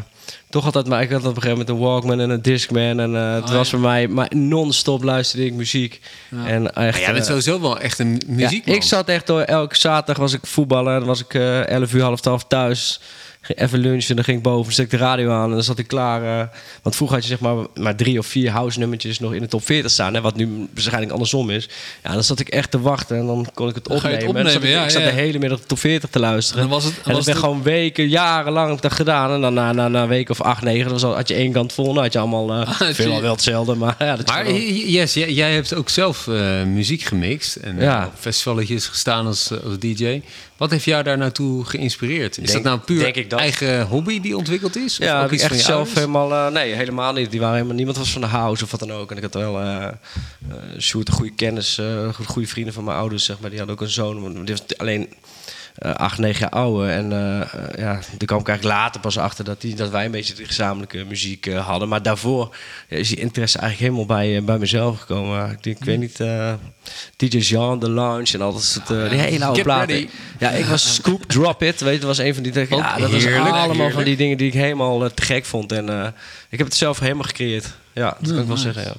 C: toch altijd, maar ik had op een gegeven moment een Walkman en een Discman en eh, het
A: Oh,
C: was
A: ja.
C: voor mij, maar non-stop luisterde ik muziek. En echt,
B: Maar jij bent
C: eh,
B: sowieso wel echt een
C: ja,
B: muziek.
C: ik zat echt door, elke zaterdag was ik voetballen, dan was ik eh 11 uur, half 12 thuis. Ging Even lunchen, dan ging ik boven, stek de radio aan en dan zat ik klaar. eh, want vroeger had je zeg maar, maar drie of vier house nummertjes nog in de top 40 staan. Hè, wat nu waarschijnlijk andersom is. Ja, dan zat ik echt te wachten en dan kon ik het
A: Dan ga
C: opnemen.
A: je het
C: En dan zat ik,
A: opnemen, ja,
C: ik zat
A: ja.
C: de hele middag de top 40 te luisteren.
A: En dan was het-
C: en
A: was
C: dat ben
A: het-
C: gewoon weken, jarenlang heb ik dat gedaan. En dan na, na, na een week of acht, negen dan was al- had je één kant vol. Dan had je allemaal eh,
A: zie je.
C: veelal wel hetzelfde. Maar, ja, dat is
B: Maar
C: gewoon-
B: yes, jij, jij hebt ook zelf eh, muziek gemixt en eh,
C: Ja.
B: op festivaletjes gestaan als, eh, als DJ. Wat heeft jou daar naartoe geïnspireerd? Is
C: Denk-
B: dat nou puur
C: denk ik dat.
B: eigen hobby die ontwikkeld is? Of
C: Ja,
B: ook
C: heb ik
B: iets van
C: echt
B: je
C: zelf
B: ouders?
C: helemaal... eh, nee, helemaal niet. Die waren helemaal, niemand was van de house of wat dan ook. En ik had wel eh eh, Sjoerd, een goede kennis, eh, go- goede vrienden van mijn ouders, zeg maar. Die hadden ook een zoon. maar Die was alleen eh, acht, negen jaar ouder. En eh, eh, ja, daar kwam ik eigenlijk later pas achter dat, die, dat wij een beetje de gezamenlijke muziek eh, hadden. Maar daarvoor ja, is die interesse eigenlijk helemaal bij, eh, bij mezelf gekomen. Ik, denk, ik weet
B: Hmm.
C: niet, eh, DJ Jean, The Lounge en al dat soort eh, die hele oude
B: Get
C: platen.
B: ready.
C: Ja, ik was Scoop Drop It, weet je, was een van die...
B: Ook
C: Ja, dat was
B: heerlijk,
C: allemaal van
B: heerlijk.
C: die dingen die ik helemaal eh, te gek vond. En eh, ik heb het zelf helemaal gecreëerd. Ja, dat kan ik
A: Oh,
C: wel zeggen, ja.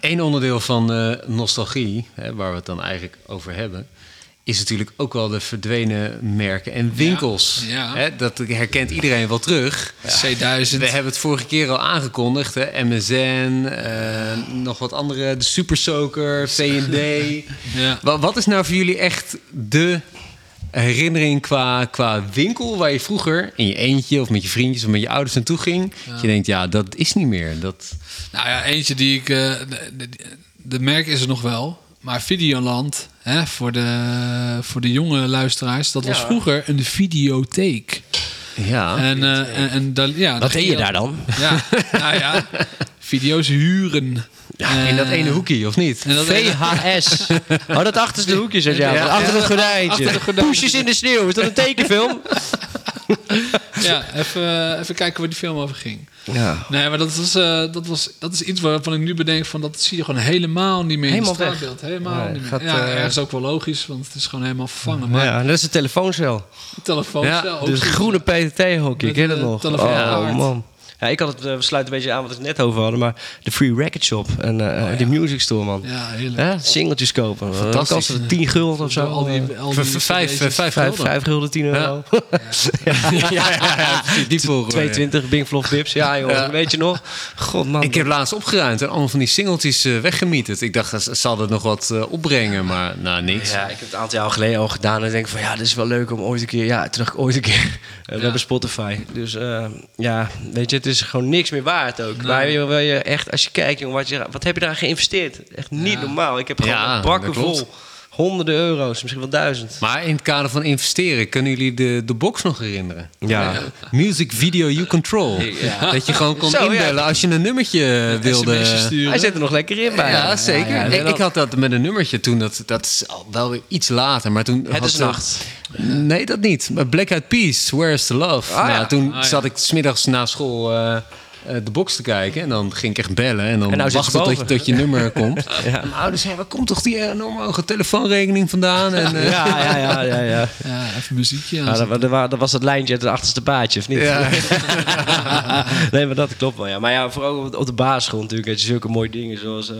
B: Eén onderdeel van eh, nostalgie, hè, waar we het dan eigenlijk over hebben, is natuurlijk ook wel de verdwenen merken en winkels.
A: Ja, ja.
B: Hè, dat herkent iedereen wel terug.
A: C1000.
B: We hebben het vorige keer al aangekondigd, hè? MSN, eh, nog wat andere, de Super
A: (laughs)
B: Soaker, V&D.
A: Ja.
B: Wa- Wat is nou voor jullie echt de herinnering qua, qua winkel waar je vroeger in je eentje of met je vriendjes of met je ouders naartoe ging? Dat je denkt, ja, dat is niet meer. Dat,
A: Nou ja, eentje die ik. eh, de, de- de merk is er nog wel. Maar Videoland, hè, voor, de, voor de jonge luisteraars, dat was vroeger een videotheek.
C: Oh,
B: ja.
A: en, eh, en, en daar- ja,
C: Wat
A: ging
C: deed je daar dan?
A: Ja, nou
C: (laughs)
A: ja, video's huren.
B: in dat
A: Eh,
B: ene hoekje, of niet?
A: en dat ene-
C: (laughs) VHS. Oh, dat achterste hoekje, zeg jij.
B: Ja,
C: achter
B: ja,
C: het gordijntje.
B: achter het gordijntje.
C: Poesjes in de sneeuw. Is dat een tekenfilm?
A: Ja, even, eh, even kijken waar die film over ging.
C: Ja.
A: Nee, maar dat, was, eh, dat, was, dat is iets waarvan ik nu bedenk van dat zie je gewoon helemaal niet meer
C: Helemaal
A: in het straatbeeld. Helemaal
C: Nee,
A: niet meer.
C: gaat,
A: ja,
C: eh,
A: ergens ook wel logisch, want het is gewoon helemaal vervangen. Maar
C: Ja, en dat is de telefooncel.
A: telefoon
B: Ja,
A: zelf.
C: Dus groene PTT-hockey,
A: Met
C: ken je dat
A: de
C: nog?
A: telefoon
C: Oh,
A: apart.
C: man. Ja, ik had het, eh, we sluiten een beetje aan wat we het net over hadden, maar de Free Record Shop en eh, de Music Store, man.
A: Oh, Ja, heerlijk.
C: Hè, singeltjes kopen.
B: Fantastisch.
C: Fantastisch. Dat kostte 10 gulden of zo.
A: Al die, al die
B: V- v- vijf, eh,
A: cd's.
B: vijf
C: Vijf,
B: gulden.
C: vijf gulden, 10 euro. (laughs)
B: (laughs) ja, ja, ja, precies, die volgen we, ja.
C: 2,20 Bing Flof Bips. Ja, jongen,
B: Ja.
C: weet je nog? God, man.
B: Ik heb laatst opgeruimd en allemaal van die singeltjes eh, weggemieterd. Ik dacht, ze- zal dat nog wat eh, opbrengen, maar nou, niks.
C: Ja, ik heb het een aantal jaar geleden al gedaan. En ik denk van ja, dit is wel leuk om ooit een keer. Ja, terug ooit een keer. (laughs) Eh, We hebben Spotify. Dus eh, ja, weet je, het is gewoon niks meer waard ook. Maar je, wil je echt, als je kijkt, jongen, wat, je, wat heb je daar geïnvesteerd? Echt niet normaal. Ik heb gewoon
B: Ja,
C: bakken
B: dat klopt.
C: vol. Honderden euro's, misschien wel duizend.
B: Maar in het kader van investeren, kunnen jullie de, de box nog herinneren?
C: Ja.
B: Music Video You Control. Dat je gewoon kon
C: Zo, ja.
B: inbellen als je een nummertje wilde.
A: SMS'jes sturen.
C: Hij zit er nog lekker in bij.
B: Ja, zeker.
C: Ja, ja,
B: ik,
C: dat-
B: ik had dat met een nummertje toen. Dat, dat is al wel weer iets later. Maar toen
C: Het
B: had
C: is
B: ze-
C: nacht.
B: Nee, dat niet. Maar Black Eyed Peas, Where's the Love?
C: Ah,
B: nou,
C: ja.
B: Toen
A: Ah, ja.
B: zat ik smiddags na school eh, eh, de box te kijken. En dan ging ik echt bellen. En dan
C: En nou zit
B: wachtte
C: ze
B: tot, je-
C: boven.
B: tot je
C: (laughs)
B: nummer komt. En Mijn ouders zeiden, waar komt toch die enorme hoge telefoonrekening vandaan? En, eh,
C: Ja, ja, ja, ja. ja.
A: Ja, even
C: (laughs)
A: muziekje.
C: Ja,
A: aan.
C: Ah, dat, wa- dat wa- dat was dat lijntje uit het achterste paadje, of niet?
B: Ja.
C: (laughs) nee, maar dat klopt wel, ja. Maar ja, vooral op, op de basisschool natuurlijk. Had je zulke mooie dingen zoals, eh,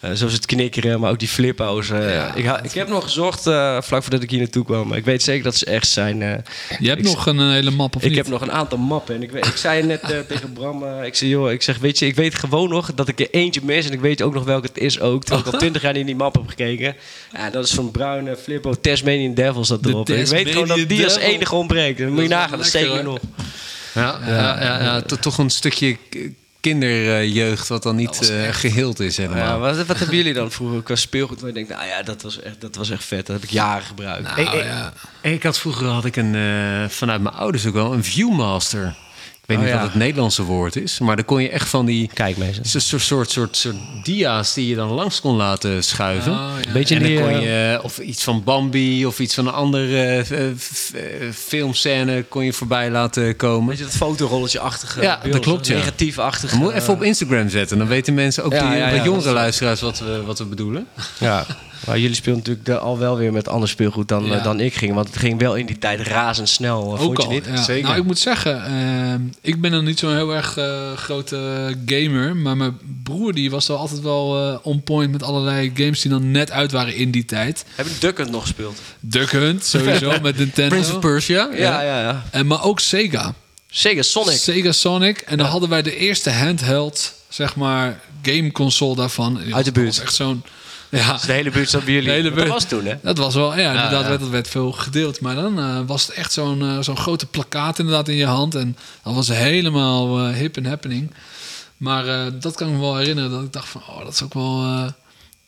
C: eh, zoals het knikkeren, maar ook die flippo's. eh. ik, ha- ik heb nog gezocht eh, vlak voordat ik hier naartoe kwam. Maar ik weet zeker dat ze echt zijn. eh,
A: Je hebt
C: ik-
A: nog een eh, hele map of
C: ik
A: niet?
C: heb nog een aantal mappen. En ik, weet- ik zei net eh, tegen Bram, eh, ik zei, joh, ik zeg, weet je, ik weet gewoon nog dat ik er eentje mis. En ik weet ook nog welke het is ook. Terwijl ik al twintig jaar niet in die map heb gekeken. Ja, dat is van Bruine, Flippo, Tasmanian Devils dat
A: De
C: erop. En Ik weet gewoon dat die als
A: Tasmanian
C: enige ontbreekt. En dan moet je
A: Dat is
C: nagaan, dat steek
A: wel
C: je
A: lekker,
C: nog.
B: (laughs) Ja, ja, ja, ja, to- toch een stukje k- kinderjeugd wat dan niet eh, geheeld is
C: Ja,
B: helemaal.
C: wat, wat hebben jullie dan vroeger qua speelgoed? Waar je denkt, nou ja, dat was echt, dat was echt vet. Dat heb ik jaren gebruikt.
B: Ik- ik, ik had vroeger had ik een, eh, vanuit mijn ouders ook wel een viewmaster. Ik weet
C: Oh,
B: niet
C: ja.
B: wat het Nederlandse woord is, maar dan kon je echt van die
C: Kijk, mensen.
B: soort, soort, soort, soort, soort dia's die je dan langs kon laten schuiven.
A: Oh, ja.
C: Beetje
B: en dan
C: die,
B: kon
C: eh,
B: je of iets van Bambi of iets van een andere eh, f- eh, filmscène kon je voorbij laten komen.
C: Weet je dat fotorolletje-achtige
B: Ja, dat
C: beeld,
B: klopt, ja.
C: Negatief-achtige.
B: Moet even op Instagram zetten, dan weten mensen ook
C: eh, Ja,
B: die
C: ja,
B: wat
C: ja,
B: jongere
C: dat is-
B: luisteraars wat we, wat we bedoelen.
C: Ja, maar jullie speelden natuurlijk de- al wel weer met ander speelgoed dan,
A: Ja.
C: eh, dan ik ging. Want het ging wel in die tijd razendsnel, eh, vond
A: Ook
C: je
A: al,
C: niet?
A: ja. Nou, ik moet zeggen, ehm, ik ben dan niet zo'n heel erg eh, grote gamer. Maar mijn broer die was wel altijd wel eh, on point met allerlei games die dan net uit waren in die tijd.
C: Heb je Duck Hunt nog gespeeld?
A: Duck Hunt
C: (laughs)
A: sowieso met Nintendo.
B: Prince of Persia.
C: Ja, ja, ja.
A: en, maar ook Sega.
C: Zeker, Sonic.
A: Sega Sonic. En dan hadden wij de eerste handheld, zeg maar, gameconsole daarvan.
C: Uit de
A: Dat
C: buurt.
A: was Echt zo'n... Ja,
C: Dus de hele buurt zat bij jullie.
A: De hele
C: Want dat
A: buurt.
C: was toen, hè?
A: Dat was wel, ja, inderdaad,
B: ja.
A: werd- dat werd veel gedeeld. Maar dan eh, was het echt zo'n eh, zo'n grote plakkaat inderdaad in je hand. En dat was helemaal eh, hip en happening. Maar eh, dat kan ik me wel herinneren. Dat ik dacht van, oh, dat is ook wel... eh,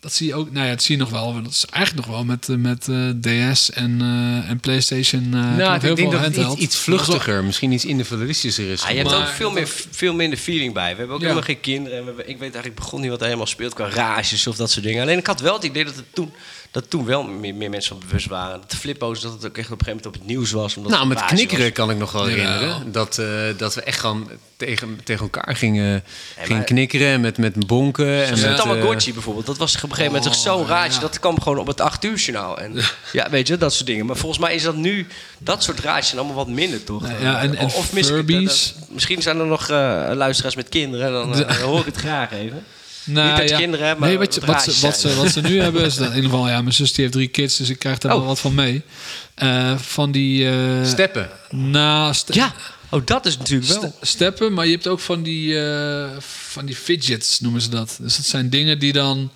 A: dat zie je ook, nou ja, dat zie je nog wel. want Dat is eigenlijk nog wel met, eh, met eh, DS en, eh, en PlayStation. eh, toen nog
B: Nou,
A: heel
B: ik denk
A: veel
B: dat het iets,
A: handheld.
B: iets vluchtiger, misschien iets individualistischer is.
C: Ah, je hebt
A: Maar-
C: ook veel, meer, veel minder feeling bij. We hebben ook
A: Ja.
C: helemaal geen kinderen. En we hebben- ik weet eigenlijk begon niet wat er helemaal speelt qua rages of dat soort dingen. Alleen ik had wel het idee dat het toen dat toen wel meer, meer mensen van bewust waren. Dat de flippo's, dat het ook echt op een gegeven moment op het nieuws was. Omdat
B: Nou,
C: het
B: met
C: baasje was.
B: knikkeren kan ik nog wel
A: Ja.
B: herinneren. Dat, eh, dat we echt gewoon tegen, tegen elkaar gingen, gingen
C: maar-
B: knikkeren en met, met bonken. En
A: Ja.
C: Zo'n
B: met, eh,
C: Tamagotchi bijvoorbeeld, dat was op een gegeven moment echt zo'n
A: Oh,
C: raadje.
A: ja.
C: Dat kwam gewoon op het 8 uur journaal. En, ja, weet je, dat soort dingen. Maar volgens mij is dat nu, dat soort raadjes zijn allemaal wat minder, toch?
A: Nou ja, en- en
C: of mis- eh,
A: Furbies.
C: dat- dat- misschien zijn er nog eh, luisteraars met kinderen, dan eh, dan hoor ik het graag even.
A: Nou,
C: Niet dat je kinderen hebt, maar
A: nee, wat, je-
C: dat
A: wat, ze,
C: raadjes
A: wat,
C: zijn.
A: ze, wat ze nu hebben
B: (laughs)
A: is... dat- in ieder geval, ja, mijn zus die heeft drie kids, dus ik krijg daar wel
C: Oh.
A: wat van mee. Eh, van die... eh
B: Steppen.
A: Naast...
C: Ja, oh, dat is natuurlijk
A: Ste-
C: wel.
A: steppen, maar je hebt ook van die, eh, van die fidgets, noemen ze dat. Dus dat zijn dingen die dan...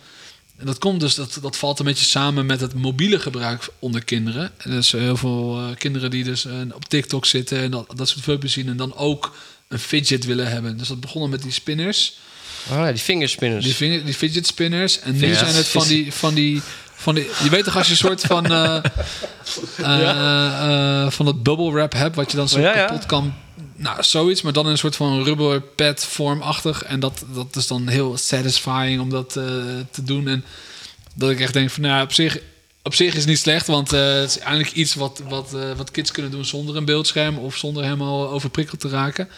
A: En dat komt dus, dat, dat valt een beetje samen met het mobiele gebruik onder kinderen. En Dus heel veel eh, kinderen die dus eh, op TikTok zitten en dat, dat soort filmpjes zien... en dan ook een fidget willen hebben. Dus dat begonnen met die spinners.
C: Ah, die vingerspinners.
A: Die, vinger- die fidget spinners. En nu
B: Fidget
A: zijn het van die, van die... Van die, je weet toch als je een soort van...
C: (laughs)
A: eh, eh, eh, van dat bubble wrap hebt... wat je dan zo
C: Ja, ja.
A: kapot kan... Nou, zoiets. Maar dan in een soort van rubber pad vormachtig. En dat, dat is dan heel satisfying om dat eh, te doen. En dat ik echt denk van... Nou, op zich... Op zich is het niet slecht, want eh, het is eigenlijk iets wat, wat, eh, wat kids kunnen doen zonder een beeldscherm of zonder helemaal overprikkeld te raken.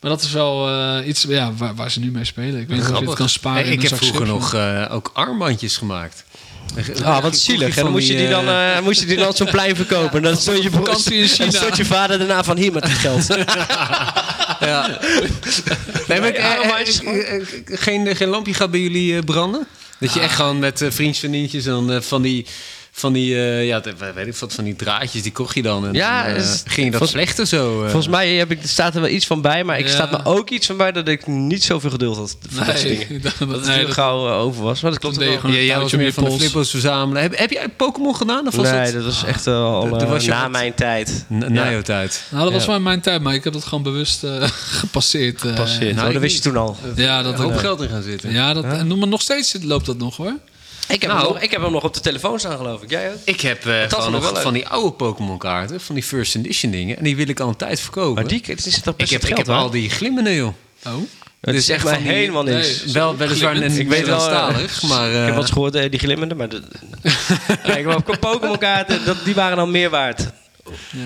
A: Maar dat is wel eh, iets ja, waar, waar ze nu mee spelen. Ik weet niet of je
B: Grappig.
A: het kan sparen.
B: Hey,
A: in
B: ik
A: een
B: heb
A: zak
B: vroeger
A: chips,
B: nog eh, ook armbandjes gemaakt.
C: Ah, wat zielig. En dan moest je die dan, eh, moest je die dan op zo'n plein verkopen. En dan stond je,
A: vakantie in China.
C: dan stond je vader daarna van hier met het (laughs) geld.
B: Ja. nee, maar, eh, eh, eh, geen, geen lampje gaat bij jullie eh, branden? Dat
C: Ah.
B: je echt gewoon met eh, vriendjes, vriendinnetjes en dan, eh, van die... Van die, eh, ja, de- weet ik wat, van die draadjes, die kocht je dan. En
C: Ja,
B: dan, eh,
C: is-
B: ging je dat
C: volgens-
B: vlechten zo? eh?
C: Volgens mij heb ik, staat er wel iets van bij, maar ik
A: Ja.
C: staat me ook iets van bij dat ik niet zoveel geduld had voor (laughs) dat soort dingen.
A: Nee, dat,
C: Dat het
A: nee,
C: heel
A: dat-
C: gauw eh, over was, maar dat klopt
A: deed je
C: wel.
A: gewoon
B: Ja, jij was
A: touwtje om
B: meer
A: je
B: van de
A: pols.
B: flippers verzamelen. Heb, heb jij Pokémon gedaan? Of was
C: nee,
B: het
C: dat was echt eh, al
B: Dat- dat
C: eh,
B: was je
C: na
B: wat-
C: mijn tijd.
B: N- na jouw tijd?
A: Nou, dat was
C: Ja.
A: wel in mijn tijd, maar ik heb dat gewoon bewust eh, (laughs) gepasseerd. eh.
C: Passeert.
B: nou,
C: oh, dat
B: ik
C: wist je toen al.
A: Ja,
B: Dat
A: dat
B: hoop
A: ook.
B: geld in gaan zitten.
A: Ja, dat, en noem maar nog steeds loopt dat nog hoor.
C: Ik heb,
B: Nou.
C: hem nog, ik heb hem nog op de telefoon staan, geloof ik. Jij ook?
B: Ik heb eh,
C: vond
B: gewoon
C: ik
B: nog
C: wel leuk.
B: van die oude Pokémon kaarten, van die first edition dingen. En die wil ik al een tijd verkopen.
C: Maar die het is toch
B: ik
C: best
B: heb,
C: het
B: ik
C: geld,
B: heb al die glimmende, joh.
A: Oh.
C: Het is echt
B: dus echt
C: maar
B: van die-
C: helemaal niks.
A: Nee,
B: Wel, weliswaar
A: glimmend.
B: net
C: Ik weet wel, eh,
B: Nederlandstalig, maar... eh,
C: Ik heb wat gehoord, eh, die glimmende, maar... dat- Kijk, maar op Pokémon kaarten, dat- die waren dan meer waard.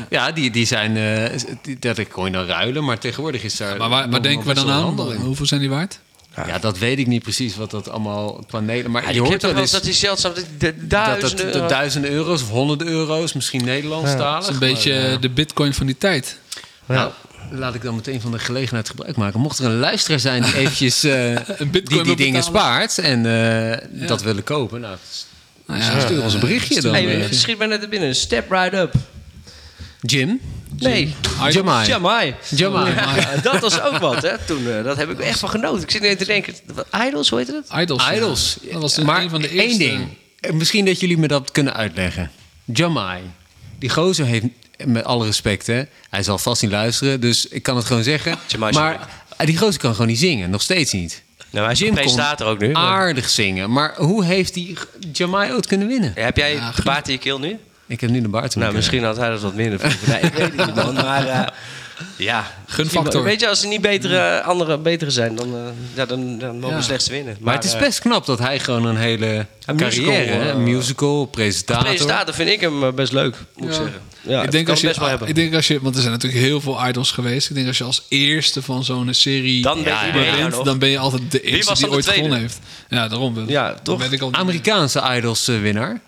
B: ja, die, die zijn... eh, die- dat ik kon je dan ruilen, maar tegenwoordig is daar...
A: Maar waar,
B: nog
A: waar denken we
B: best
A: dan
B: wel
A: aan?
B: handel in.
A: Hoeveel zijn die waard?
B: Ja, dat weet ik niet precies wat dat allemaal qua Nederland... Maar
C: Ja,
B: je
C: ik heb
B: hoort
C: toch
B: wel
C: wel
B: eens
C: eens dat
B: dat
C: die zeldzaam... dat- dat-
B: dat
C: Duizenden
B: dat
C: euro.
B: duizenden euro's of honderden euro's, misschien Nederlandstalig.
A: Dat is een
B: maar,
A: beetje
B: eh,
A: de bitcoin van die tijd.
B: Nou, laat ik dan meteen van de gelegenheid gebruik maken. Mocht er een luisteraar zijn die eventjes
A: (laughs)
B: eh,
A: bitcoin
B: die, die
A: wil
B: dingen
A: betalen.
B: spaart en eh, dat willen kopen, nou,
A: Nou
B: stuur ons een berichtje dan.
C: Hey,
B: eh,
C: het schiet mij net er binnen. Step right up.
B: Jim,
C: Nee.
B: Jamai,
C: Jamai.
B: Jamai.
C: Ja, dat was ook wat, hè? Toen, eh, dat heb ik echt van genoten. Ik zit nu even te denken, wat- Idols, hoe heet dat?
A: Idols. ja.
B: Idols.
A: Dat was dus
B: maar
A: een van de
B: één
A: eerste.
B: ding. Eh, Misschien dat jullie me dat kunnen uitleggen. Jamai. Die gozer heeft, met alle respect, hè, hij zal vast niet luisteren, dus ik kan het gewoon zeggen.
C: (laughs) Jamai is
B: maar eh, die gozer kan gewoon niet zingen, nog steeds niet.
C: Nou, hij is
B: Jim kon
C: presentator ook nu. maar-
B: aardig zingen, maar hoe heeft die Jamai ooit kunnen winnen?
C: Ja, heb jij
A: Ja,
C: de baard in je keel nu?
B: Ik heb nu de baard.
C: Nou, misschien had hij dat wat minder.
A: (laughs)
C: vroeger. Nee, ik weet het niet, man. Maar eh, ja.
A: Gunfactor.
C: Weet je, als er niet betere, andere betere zijn, dan, eh, ja, dan, dan mogen we
A: Ja.
C: slechts winnen.
B: Maar het is
C: eh,
B: best knap dat hij gewoon een hele
C: Een musical,
B: carrière, hè,
C: eh,
B: een musical, presentator.
C: presentator vind ik hem eh, best leuk, moet
A: Ja.
C: ik zeggen. Ja,
A: ik, denk als je,
C: best wel hebben.
A: ik denk als je, want er zijn natuurlijk heel veel idols geweest. Ik denk als je als eerste van zo'n serie
C: Dan ben je
A: ja,
C: iedereen
A: wint,
C: nog.
A: dan ben je altijd de eerste
C: was
A: die
C: dan
A: ooit
C: de tweede?
A: gewonnen heeft. Ja, daarom. Dan
C: Ja, toch?
A: ben ik al-
B: Amerikaanse Idols eh, winnaar.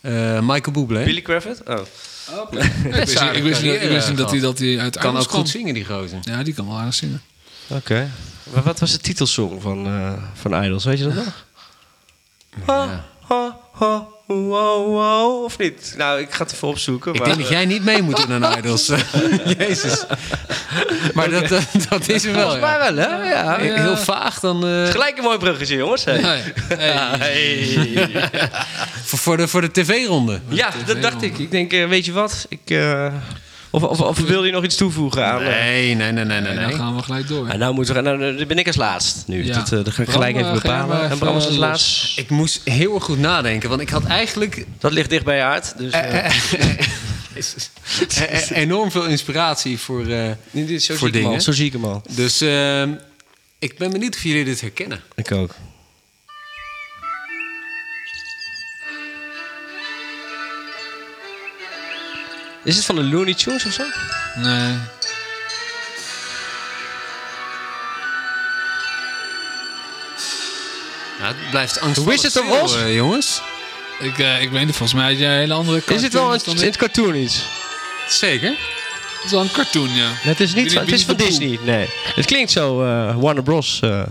B: Eh, Michael Bublé.
C: Billy Crawford? Oh.
A: Ik wist niet- ik wist niet- ik wist niet dat hij dat hij uit
B: kan
A: idols
B: ook
A: kwam.
B: goed zingen, die gozer.
A: Ja, die kan wel aardig zingen.
C: Oké. Maar wat was de titelsong van, eh, van Idols? Weet je dat nog? Ha, ha, ha, wow, wow, of niet? Nou, ik ga het even opzoeken.
B: Ik
C: maar,
B: denk dat jij niet mee moet doen aan Idols. (laughs) Jezus. Maar dat, dat, dat is er wel.
C: Volgens mij
B: ja.
C: wel, hè? Ja.
B: He- Heel vaag dan. eh,
C: Gelijk een mooi bruggetje, jongens. Hey.
A: Ja, ja. Hey.
C: Hey.
B: voor, voor de, voor de tv-ronde.
C: Ja, dat dacht ik. Ik denk, eh, weet je wat? Ik, eh, of, of, of wil je nog iets toevoegen aan... eh,
B: Nee, nee, nee, nee, nee.
A: En dan
B: nee.
A: gaan we gelijk door.
C: Ah, nou, moeten we, nou, dan ben ik als laatst nu.
A: Ja.
C: Dat, eh, dat ga ik
A: Bram,
C: gelijk even
A: eh, ga jij
C: bepalen. en
A: maar even
C: Bram is als
A: los.
C: laatst.
B: Ik moest heel erg goed nadenken, want ik had eigenlijk e-,
C: Dat ligt dicht bij je hart. Dus, eh,
B: Jezus. E- e- enorm veel inspiratie voor, eh,
C: dit is zo,
B: voor
C: zie ik hem al,
B: dingen.
C: zo zie ik hem al.
B: Dus ehm, ik ben benieuwd of jullie dit herkennen.
C: Ik ook. Is het van de Looney Tunes of zo?
A: Nee.
B: Ja, het blijft angst.
C: Wizard of Oz?
B: jongens.
A: Ik, eh, ik weet niet, volgens mij had jij een hele andere
C: Is het wel
A: cartoon
C: een,
A: dan
C: in het
A: dit.
C: cartoon iets?
B: Zeker.
A: Het is wel een cartoon, ja.
C: Het is niet
A: Winnie-
C: van, het is van
A: Winnie de Pooh.
C: Disney. Nee. Het klinkt zo eh, Warner Bros. eh.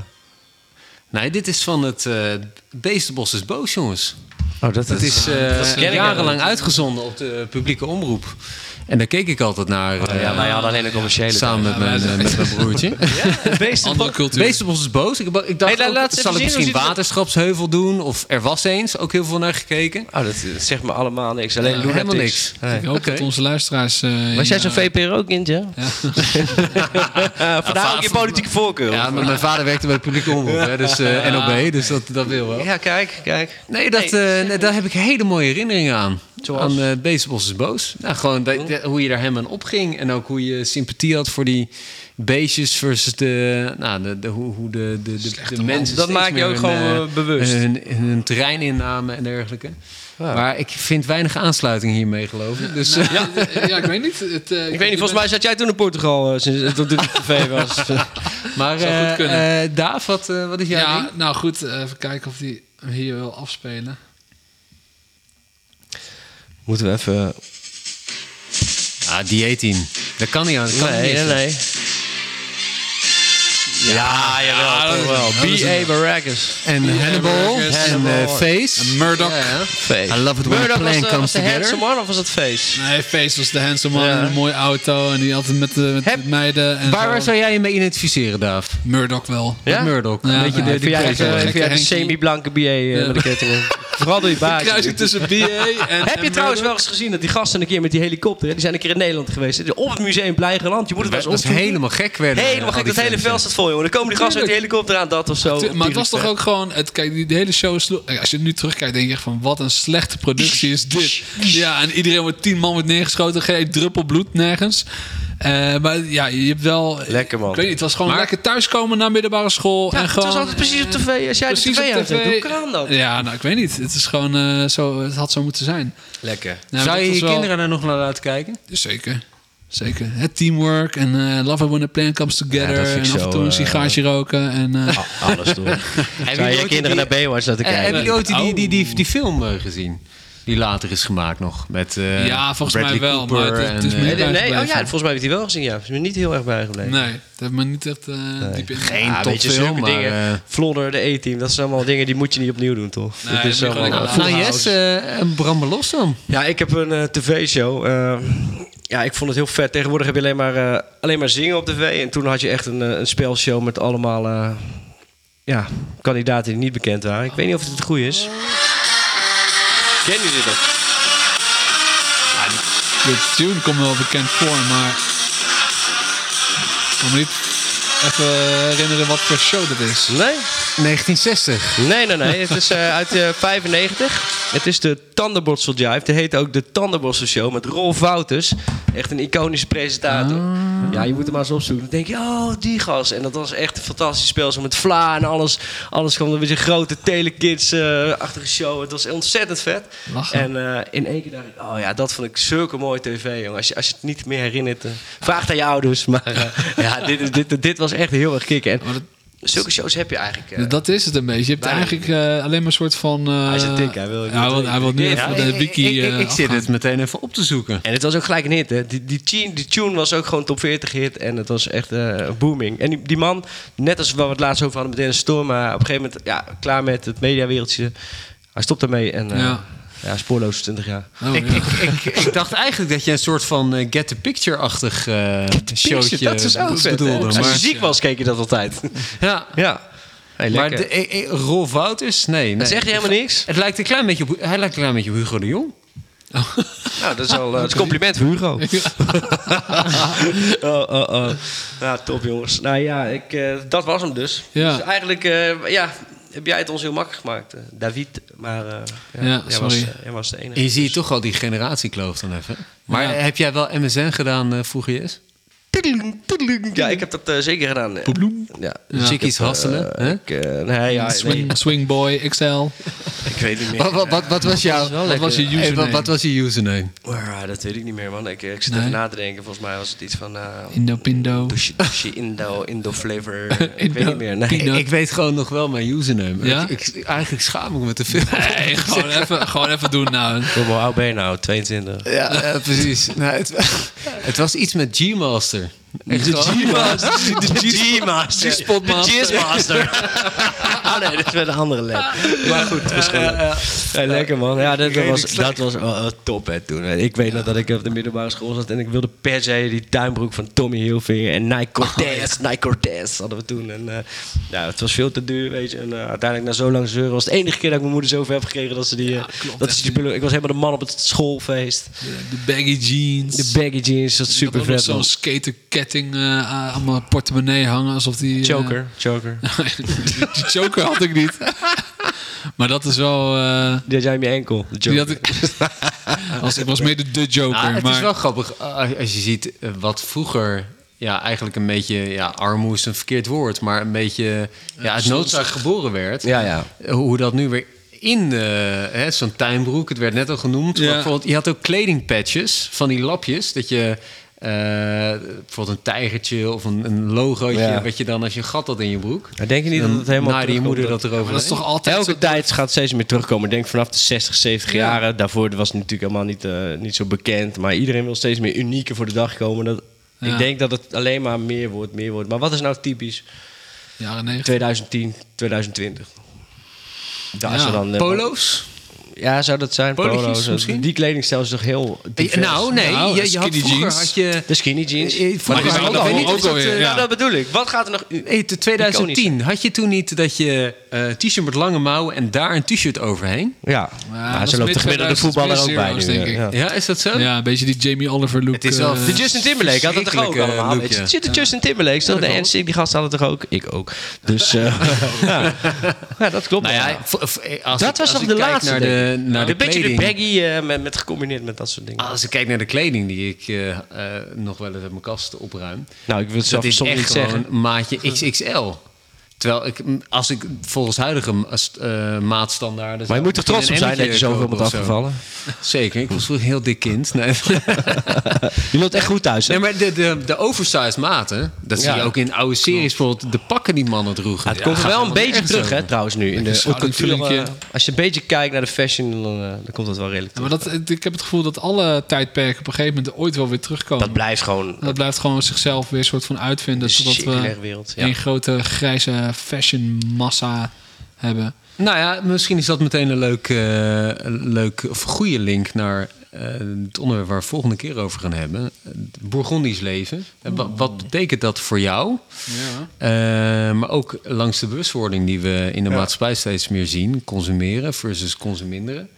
B: Nee, dit is van het eh Beestenbos is boos, jongens.
C: Oh, dat,
B: Het is eh,
A: ken ik
B: jarenlang uitgezonden op de publieke omroep. En daar keek ik altijd naar. eh,
C: Oh, ja, wij hadden alleen de commerciële.
B: Samen met
A: Ja,
B: mijn,
C: (laughs)
A: wij-
B: eh, met mijn broertje.
A: Andere cultuur.
B: Beestenbos is boos. Ik, ba- ik dacht,
C: Hey, la-
B: ook,
C: laat eens
B: zal
C: even
B: ik
C: zien, hoe
B: misschien
C: ziet het-
B: waterschapsheuvel doen? Of er was eens, ook heel veel naar gekeken.
C: Oh, dat eh, zegt me allemaal niks. Alleen
A: Ja,
C: Lunatics.
B: helemaal niks.
C: Nee.
A: Ik hoop
B: Oké.
A: dat onze luisteraars... eh,
C: Was jij
A: hier,
C: zo'n
A: eh,
C: VPR ook kindje? Ja. (laughs) Vandaar ook je politieke voorkeur.
B: Ja, maar mijn vader werkte bij de publieke omroep, hè,
C: (laughs)
B: dus eh, NOB, dus dat, dat wil wel.
C: Ja, kijk, kijk.
B: Nee, dat, eh, nee, daar heb ik hele mooie herinneringen aan.
C: Zoals? Oh.
B: Aan eh Beestenbos is boos. Nou, gewoon dat- dat- hoe je daar hem aan opging. En ook hoe je sympathie had voor die beestjes versus de, nou, de, de, hoe, hoe de, de, de, de mensen.
C: Dat
B: steeds
C: maak je
B: meer
C: ook
B: hun,
C: gewoon,
B: eh,
C: eh, bewust.
B: Hun, hun terrein innamen en dergelijke. Maar ik vind weinig aansluiting hiermee, geloof ik. Dus,
C: Nou,
B: eh,
A: Ja, eh, ja, ik weet niet. Het, eh,
C: Ik weet niet, volgens mij zat jij toen in Portugal eh, sinds dat dit op tv was.
B: maar
A: Zou goed
B: eh,
A: kunnen.
B: eh, Daaf, wat, eh, wat is jouw
A: Ja,
B: ding?
A: nou goed. eh, Even kijken of die hem hier wil afspelen.
C: Moeten we even...
B: Ah, dieet in. Dat kan niet aan. Dat kan
C: Nee,
B: niet
C: nee,
B: eens.
C: nee. Ja, jawel, toch wel. B.A. Baracus.
B: En Hannibal.
A: Burgers.
B: En eh,
C: Hannibal.
B: Face.
A: En Murdoch.
B: Ja, ja.
C: Face.
B: I love it when a
C: Murdoch was
B: plan
C: de-
B: comes
C: was de
B: together.
C: handsome one of was het face?
A: Nee, Face was de handsome man
C: Ja.
A: in een mooie auto. En die altijd met de, met de
C: Heb-
A: meiden. En
B: Waar,
A: zo.
B: waar zou jij je mee identificeren, Daaf?
A: Murdoch wel.
C: Ja?
B: Met Murdoch.
A: Ja,
B: een beetje
A: ja.
B: de, die
C: Vind jij
B: keuze.
A: eh,
C: het, eh,
A: Gekke
C: vind jij het een
A: Henkie.
C: semi-blanke BA eh, met de kettingen? Vooral door je baas.
A: Kruising tussen BA en
C: (laughs) Heb je
A: en
C: trouwens wel
A: Murdoch.
C: eens gezien dat die gasten een keer met die helikopter, hè, die zijn een keer in Nederland geweest, hè, op het museum Blijgeland, je moet het wel
B: Dat
C: eens
B: is
C: opzoeken.
B: helemaal gek werden. eh,
C: Helemaal
B: al
C: gek,
B: die
C: dat hele
B: mensen.
C: veld staat vol, jongen. Dan komen die gasten uit die helikopter aan, dat of zo.
A: Maar het was toch ook gewoon... Het, kijk, die, die hele show sloeg... kijk, Als je nu terugkijkt, denk je echt van... Wat een slechte productie is dit. Ja, en iedereen wordt tien man wordt neergeschoten. Geen druppel bloed nergens. Eh, maar ja, je hebt wel...
C: Lekker, man.
A: Ik weet niet, het was gewoon
B: Maar-
A: lekker thuiskomen na middelbare school.
C: Ja,
A: en gewoon,
C: het was altijd precies op tv, als jij de
A: precies
C: tv
A: op
C: uit
A: tv.
C: hoe kan dat?
A: Ja, nou, ik weet niet. Het is gewoon eh, zo... Het had zo moeten zijn.
C: Lekker.
A: Nou,
B: Zou
A: dat
B: je
A: was
B: je
A: wel-
B: kinderen daar nog naar laten kijken?
A: Zeker. Zeker. Het teamwork en eh, love it when a plan comes together.
C: Ja, dat vind ik
A: en af en
C: zo,
A: toe een
C: eh, Ah.
A: sigaartje roken. En, eh,
C: Alles (laughs) doen. Zou je kinderen naar Baywatch laten
B: Eh,
C: kijken?
B: Heb je ooit die, die,
A: Oh.
B: die, die, die film eh, gezien? Die later is gemaakt nog. Met, eh,
A: Ja, volgens mij
B: Bradley
A: wel, maar
B: Cooper
A: het- het is
B: en, eh,
A: meer-
C: Nee, nee, nee, oh ja,
A: bijgebleven.
C: volgens mij heb ik die wel gezien, ja. Is me niet heel erg bijgebleven.
A: nee, dat heeft me niet echt eh diep in. Ah,
B: Geen
A: Ja,
B: top
C: weet je,
B: film,
C: zulke
B: maar,
C: dingen.
B: eh,
C: Flodder, de E-team, dat zijn allemaal dingen die moet je niet opnieuw doen, toch? dat
A: Nee, dat moet
C: is
A: je gewoon
C: allemaal...
A: lekker
B: nou, yes, eh, en Bram Belos dan.
C: Ja, ik heb een eh, tv-show. eh, ja, ik vond het heel vet. Tegenwoordig heb je alleen maar, eh, alleen maar zingen op tv. En toen had je echt een, eh, een spelshow met allemaal eh, ja, kandidaten die niet bekend waren. Ik weet niet of dit het goed is. Ken je dit ook?
A: De tune komt wel bekend voor, maar... Ik kan me niet even herinneren wat voor show dat is.
C: Nee?
B: 1960.
C: Nee, nee, nee. Het is eh, uit eh 95. Het is de Tandenborstel Jive. Die heet ook de Tandenborstel Show met Rolf Wouters. Echt een iconische presentator.
A: Ah.
C: Ja, je moet hem maar eens opzoeken. Dan denk je, oh, die gast. En dat was echt een fantastisch spel. Zo met Vla en alles. Alles kwam een beetje grote telekids-achtige show. Het was ontzettend vet.
A: Lachen.
C: En eh, in één keer dacht ik, oh ja, dat vond ik zulke mooie tv, jongen. Als je, als je het niet meer herinnert, eh, vraag het aan je ouders. Maar eh, ja, dit, is- dit, dit was echt heel erg kicken. En
A: Maar dat,
C: zulke shows heb je eigenlijk... eh,
A: dat is het een beetje. Je hebt
C: Bijna.
A: eigenlijk eh, alleen maar een soort van... eh,
C: Hij is een tik, hij wil-
A: ja, hij wil, hij wil nu
C: Ja,
A: even
B: ik-
A: de
B: ik-
A: wiki
B: ik, ik,
A: eh,
B: ik zit
A: afgaan.
B: het meteen even op te zoeken.
C: En het was ook gelijk een hit, hè? Die, die, tune, die tune was ook gewoon top 40 hit en het was echt eh, booming. En die, die man, net als waar we het laatst over hadden met Dennis Storm, maar op een gegeven moment, ja, klaar met het mediawereldje. Hij stopt ermee en eh, ja.
A: Ja.
C: spoorloos 20 jaar.
A: Oh,
B: Ik,
A: ja.
B: ik, ik, ik dacht eigenlijk dat je een soort van eh, Get the Picture-achtig eh showtje
C: dat is ook
B: be-
C: vet, hè? Als
B: bedoelde.
C: je
B: Maar,
C: ziek was, keek je dat (laughs) altijd.
B: ja,
C: ja, hey,
B: maar
C: lekker.
B: de, eh, eh, Rolf Wouters? Nee. nee.
C: dat zegt je helemaal niks.
B: Het lijkt een klein beetje op, hij lijkt een klein beetje op Hugo de Jong.
C: Nou, dat is (laughs) al eh, dat is een compliment voor Hugo.
B: (laughs)
C: (laughs) oh, oh, oh. Nou, top jongens. Nou ja, ik, eh, dat was hem dus.
A: Ja.
C: Dus eigenlijk, eh, ja, heb jij het ons heel makkelijk gemaakt, eh, David. Maar eh, ja,
A: Ja,
C: jij, was,
A: sorry.
C: eh, jij was de enige.
B: En je ziet toch al die generatiekloof dan even. Maar
A: Ja.
B: heb jij wel MSN gedaan, eh vroeger yes?
C: Toedeling, toedeling. Ja, ik heb dat eh, zeker gedaan.
A: Poeploem.
C: Ja.
B: Chickies hasselen. hè?
C: Ik, eh, nee, ja, nee,
A: Swing, Swingboy XL.
C: ik weet
A: (laughs)
C: niet meer.
B: Wat, wat, wat, wat was jouw...
A: wel lekker.
B: je
A: Hey,
B: Wat,
A: wat- wat
B: was je username?
C: Maar, eh, dat weet ik niet meer, man. Ik, eh, ik zit
A: Nee.
C: even na te denken. Volgens mij was het iets van... eh
A: Indo Pindo.
C: douche, douche, Indo, Indo
A: (laughs)
C: flavor. ik weet
A: Indo-
C: niet meer. Nee.
A: Pino.
B: Ik weet gewoon nog wel mijn username.
A: Ja?
B: Ik, ik- eigenlijk schaam ik me te veel. (laughs)
A: Nee, gewoon even, gewoon even doen nou.
C: Hoe oud ben je nou? 22.
B: Ja, eh, (laughs) precies. Nou, het, het was iets met G-Master. Echt
A: De
B: gewoon- (laughs)
A: G-Master.
C: De G-master.
A: G-spotmaster.
C: De G-master. oh nee, dat is weer een andere led. Maar goed, verschillend. Hey, lekker man. Ja, dat was, dat was wel, wel top hè, toen. Ik weet nog dat ik op de middelbare school zat en ik wilde per se die tuinbroek van Tommy Hilfiger en Nike Cortez. Nike Cortez hadden we toen. En, eh, ja, het was veel te duur, weet je. En eh, uiteindelijk na zo lang zeuren was het de enige keer dat ik mijn moeder zoveel heb gekregen dat ze die... eh,
A: klopt,
C: dat ze die spullen- ik was helemaal de man op het schoolfeest.
A: De, de baggy jeans.
C: De baggy jeans, dat is super
A: Ik had ook nog
C: vet.
A: zo'n
C: man.
A: skaterketting eh, aan aan mijn portemonnee hangen. Alsof die... eh, (laughs)
C: Choker, choker.
A: die die choker had ik niet. (laughs) maar dat is wel... eh,
C: Die had jij in je enkel. de
A: die
C: joker.
A: had ik... Als, ik (laughs) was meer de, de joker.
B: Ah, het
A: maar
B: is wel grappig eh, als als je ziet eh, wat vroeger... Ja, eigenlijk een beetje... Ja, armoe is een verkeerd woord. Maar een beetje... Ja, uit noodzaak geboren werd.
C: Ja, ja.
B: Eh, Hoe dat nu weer in... eh, hè, Zo'n tuinbroek, het werd net al genoemd. Maar
A: Ja.
B: bijvoorbeeld, je had ook kledingpatches van die lapjes. Dat je... eh, bijvoorbeeld een tijgertje of een, een logootje...
C: Ja.
B: wat je dan als je een gat had in je broek.
C: Maar denk je niet dat het helemaal
B: Naar die
C: terugkomt
B: moeder
C: dat-
B: dat erover
A: Maar dat is toch altijd
C: Elke
A: zo-
C: tijd gaat steeds meer terugkomen. Ik denk vanaf de 60, 70 jaren. Daarvoor was het natuurlijk helemaal niet, eh, niet zo bekend. Maar iedereen wil steeds meer unieker voor de dag komen. Dat,
A: Ja.
C: Ik denk dat het alleen maar meer wordt, meer wordt. Maar wat is nou typisch
A: jaren 90.
C: 2010, 2020? Daar
A: Ja.
C: is er dan, eh,
B: Polo's?
C: Ja, zou dat zijn?
B: Polootjes
C: Polo's. eh,
B: misschien?
C: Die kledingstijl is toch heel divers?
B: nou, nee.
A: Nou,
B: je, je had
A: skinny
B: vroeger
A: jeans.
B: had je...
C: De skinny jeans.
B: Eh, eh,
A: Maar die
B: vroeger
A: zijn
B: had
A: ook
B: je-
A: al-
B: ik weet niet,
A: ook
B: is dat,
A: alweer,
B: eh,
A: ja.
C: Nou, dat bedoel ik. Wat gaat er nog...
B: Hey, te- 2010 had je toen niet dat je eh t-shirt met lange mouwen en daar een t-shirt overheen?
C: Ja,
A: dat
C: maar
A: is
C: zo loopt de
A: mid-
C: gemiddelde voetballer ook bij
A: 2000s,
C: nu.
A: denk
C: eh,
A: ik.
C: ja.
B: Ja, is dat zo?
A: Ja, een beetje die Jamie Oliver look.
B: Het is wel-
A: eh,
C: De Justin Timberlake had dat toch ook
B: verschrikkelijke
C: allemaal?
B: look,
C: weet je?
B: ja.
C: Zit de Justin Timberlake? toch? de NSYNC, die gasten hadden toch ook? Ik ook. Dus (laughs) eh, ja. ja, dat klopt.
B: Nou
C: wel.
B: ja, v- v- als
C: dat
B: ik-
C: was
B: als
C: toch
B: ik
C: de
B: kijk
C: laatste.
B: Naar
C: denk
B: de,
C: ik.
B: naar de
C: een beetje de
B: kleding, Ah.
C: baggy eh, met, met gecombineerd met dat soort dingen.
B: als ik kijk naar de kleding die ik eh, eh, nog wel eens uit mijn kast opruim.
C: nou, ik wil het
B: dat
C: zelf
B: is
C: soms
B: echt
C: niet
B: gewoon
C: zeggen.
B: maatje XXL. Terwijl ik, m, als ik volgens huidige ma- st- eh, maatstandaarden...
C: Maar je moet
B: zou
C: er
B: ik misschien
C: trots op zijn
B: een
C: dat je
B: M'tje
C: zoveel
B: kopen
C: bent
B: of zo.
C: afgevallen.
B: Zeker, ik was vroeger een heel dik kind. Nee.
C: (laughs) Je loopt echt goed thuis. hè?
B: Nee, maar de, de, de oversized maten, dat zie
C: Ja.
B: je ook in oude series. Bijvoorbeeld de pakken die mannen droegen.
C: Ja, het komt
B: Ja,
C: wel
B: gaat
C: een
B: helemaal
C: beetje
B: nergens
C: terug, hè,
B: over.
C: trouwens, nu. In de cultuur.
A: schoudervullingje.
C: eh, Als je een beetje kijkt naar de fashion, dan, eh, dan komt dat wel redelijk
A: ja,
C: terug.
A: maar dat, ik heb het gevoel dat alle tijdperken op een gegeven moment ooit wel weer terugkomen.
C: Dat blijft gewoon
A: Dat blijft gewoon zichzelf weer soort van uitvinden.
C: een
A: Zodat
C: circulaire
A: we
C: wereld. ja.
A: een grote grijze fashion massa hebben.
B: Nou ja, misschien is dat meteen een leuk, eh, een leuk of goede link naar eh, het onderwerp waar we volgende keer over gaan hebben. Het Bourgondisch leven. Eh, wa- Wat, betekent dat voor jou?
A: Ja.
B: Eh, maar ook langs de bewustwording die we in de maatschappij steeds meer zien. Consumeren versus consuminderen.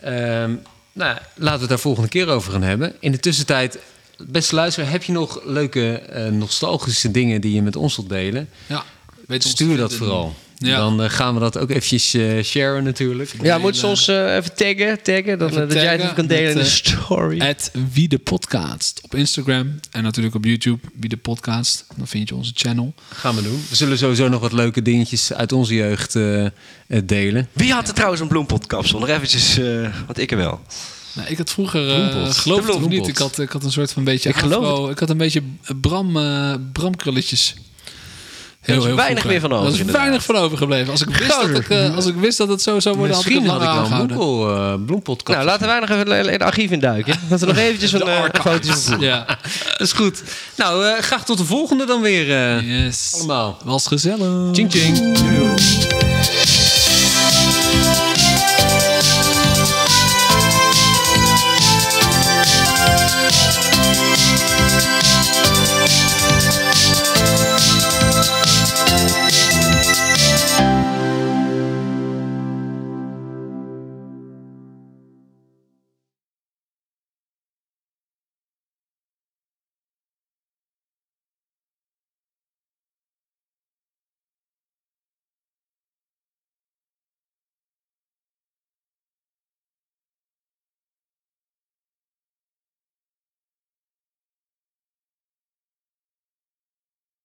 B: Ehm, nou, ja, laten we het daar volgende keer over gaan hebben. In de tussentijd, beste luisteraar, heb je nog leuke eh, nostalgische dingen die je met ons wilt delen?
A: ja. Weet ons
B: Stuur
A: te
B: dat
A: vinden.
B: vooral.
A: Ja.
B: Dan eh, gaan we dat ook eventjes eh, sharen natuurlijk.
C: Ja, moet ze ons eh, even taggen, taggen dan,
A: Even
C: eh, dat jij het
A: taggen
C: even kan delen
A: met,
C: in de
A: eh,
C: story.
A: At Wie de Podcast op Instagram en natuurlijk op YouTube. Wie de Podcast. Dan vind je onze channel.
B: Gaan we doen. We zullen sowieso nog wat leuke dingetjes uit onze jeugd eh, eh, delen.
C: Wie had er trouwens een bloempodkapsel? Nog eventjes, eh, want ik er wel.
A: Nou, ik had vroeger,
B: Bloempot.
A: eh geloof het
C: De
A: of niet,
B: bloempot.
A: ik had, ik had een soort van beetje
C: Ik geloof
A: afro. Ik had een beetje Bram, eh, Bramkrulletjes. Heel,
C: is weinig
A: vroeger.
C: meer van over,
A: Er is
C: inderdaad.
A: weinig van overgebleven. Als ik wist, dat, ik, eh, als ik wist dat het zo zou worden,
B: Misschien had
A: had ik
B: ik
A: het
B: wel
A: langer
B: een
A: aangehouden.
B: bloempel, eh bloempodkast.
C: Nou, laten wij nog even le- le- het archief induiken. hè? Dat we nog (laughs) eventjes een eh, foto's doen.
A: Ja.
B: (laughs) Dat is goed. Nou, eh, graag tot de volgende dan weer eh,
A: Yes.
B: allemaal.
A: Was gezellig.
B: Ching ching.
C: Doei.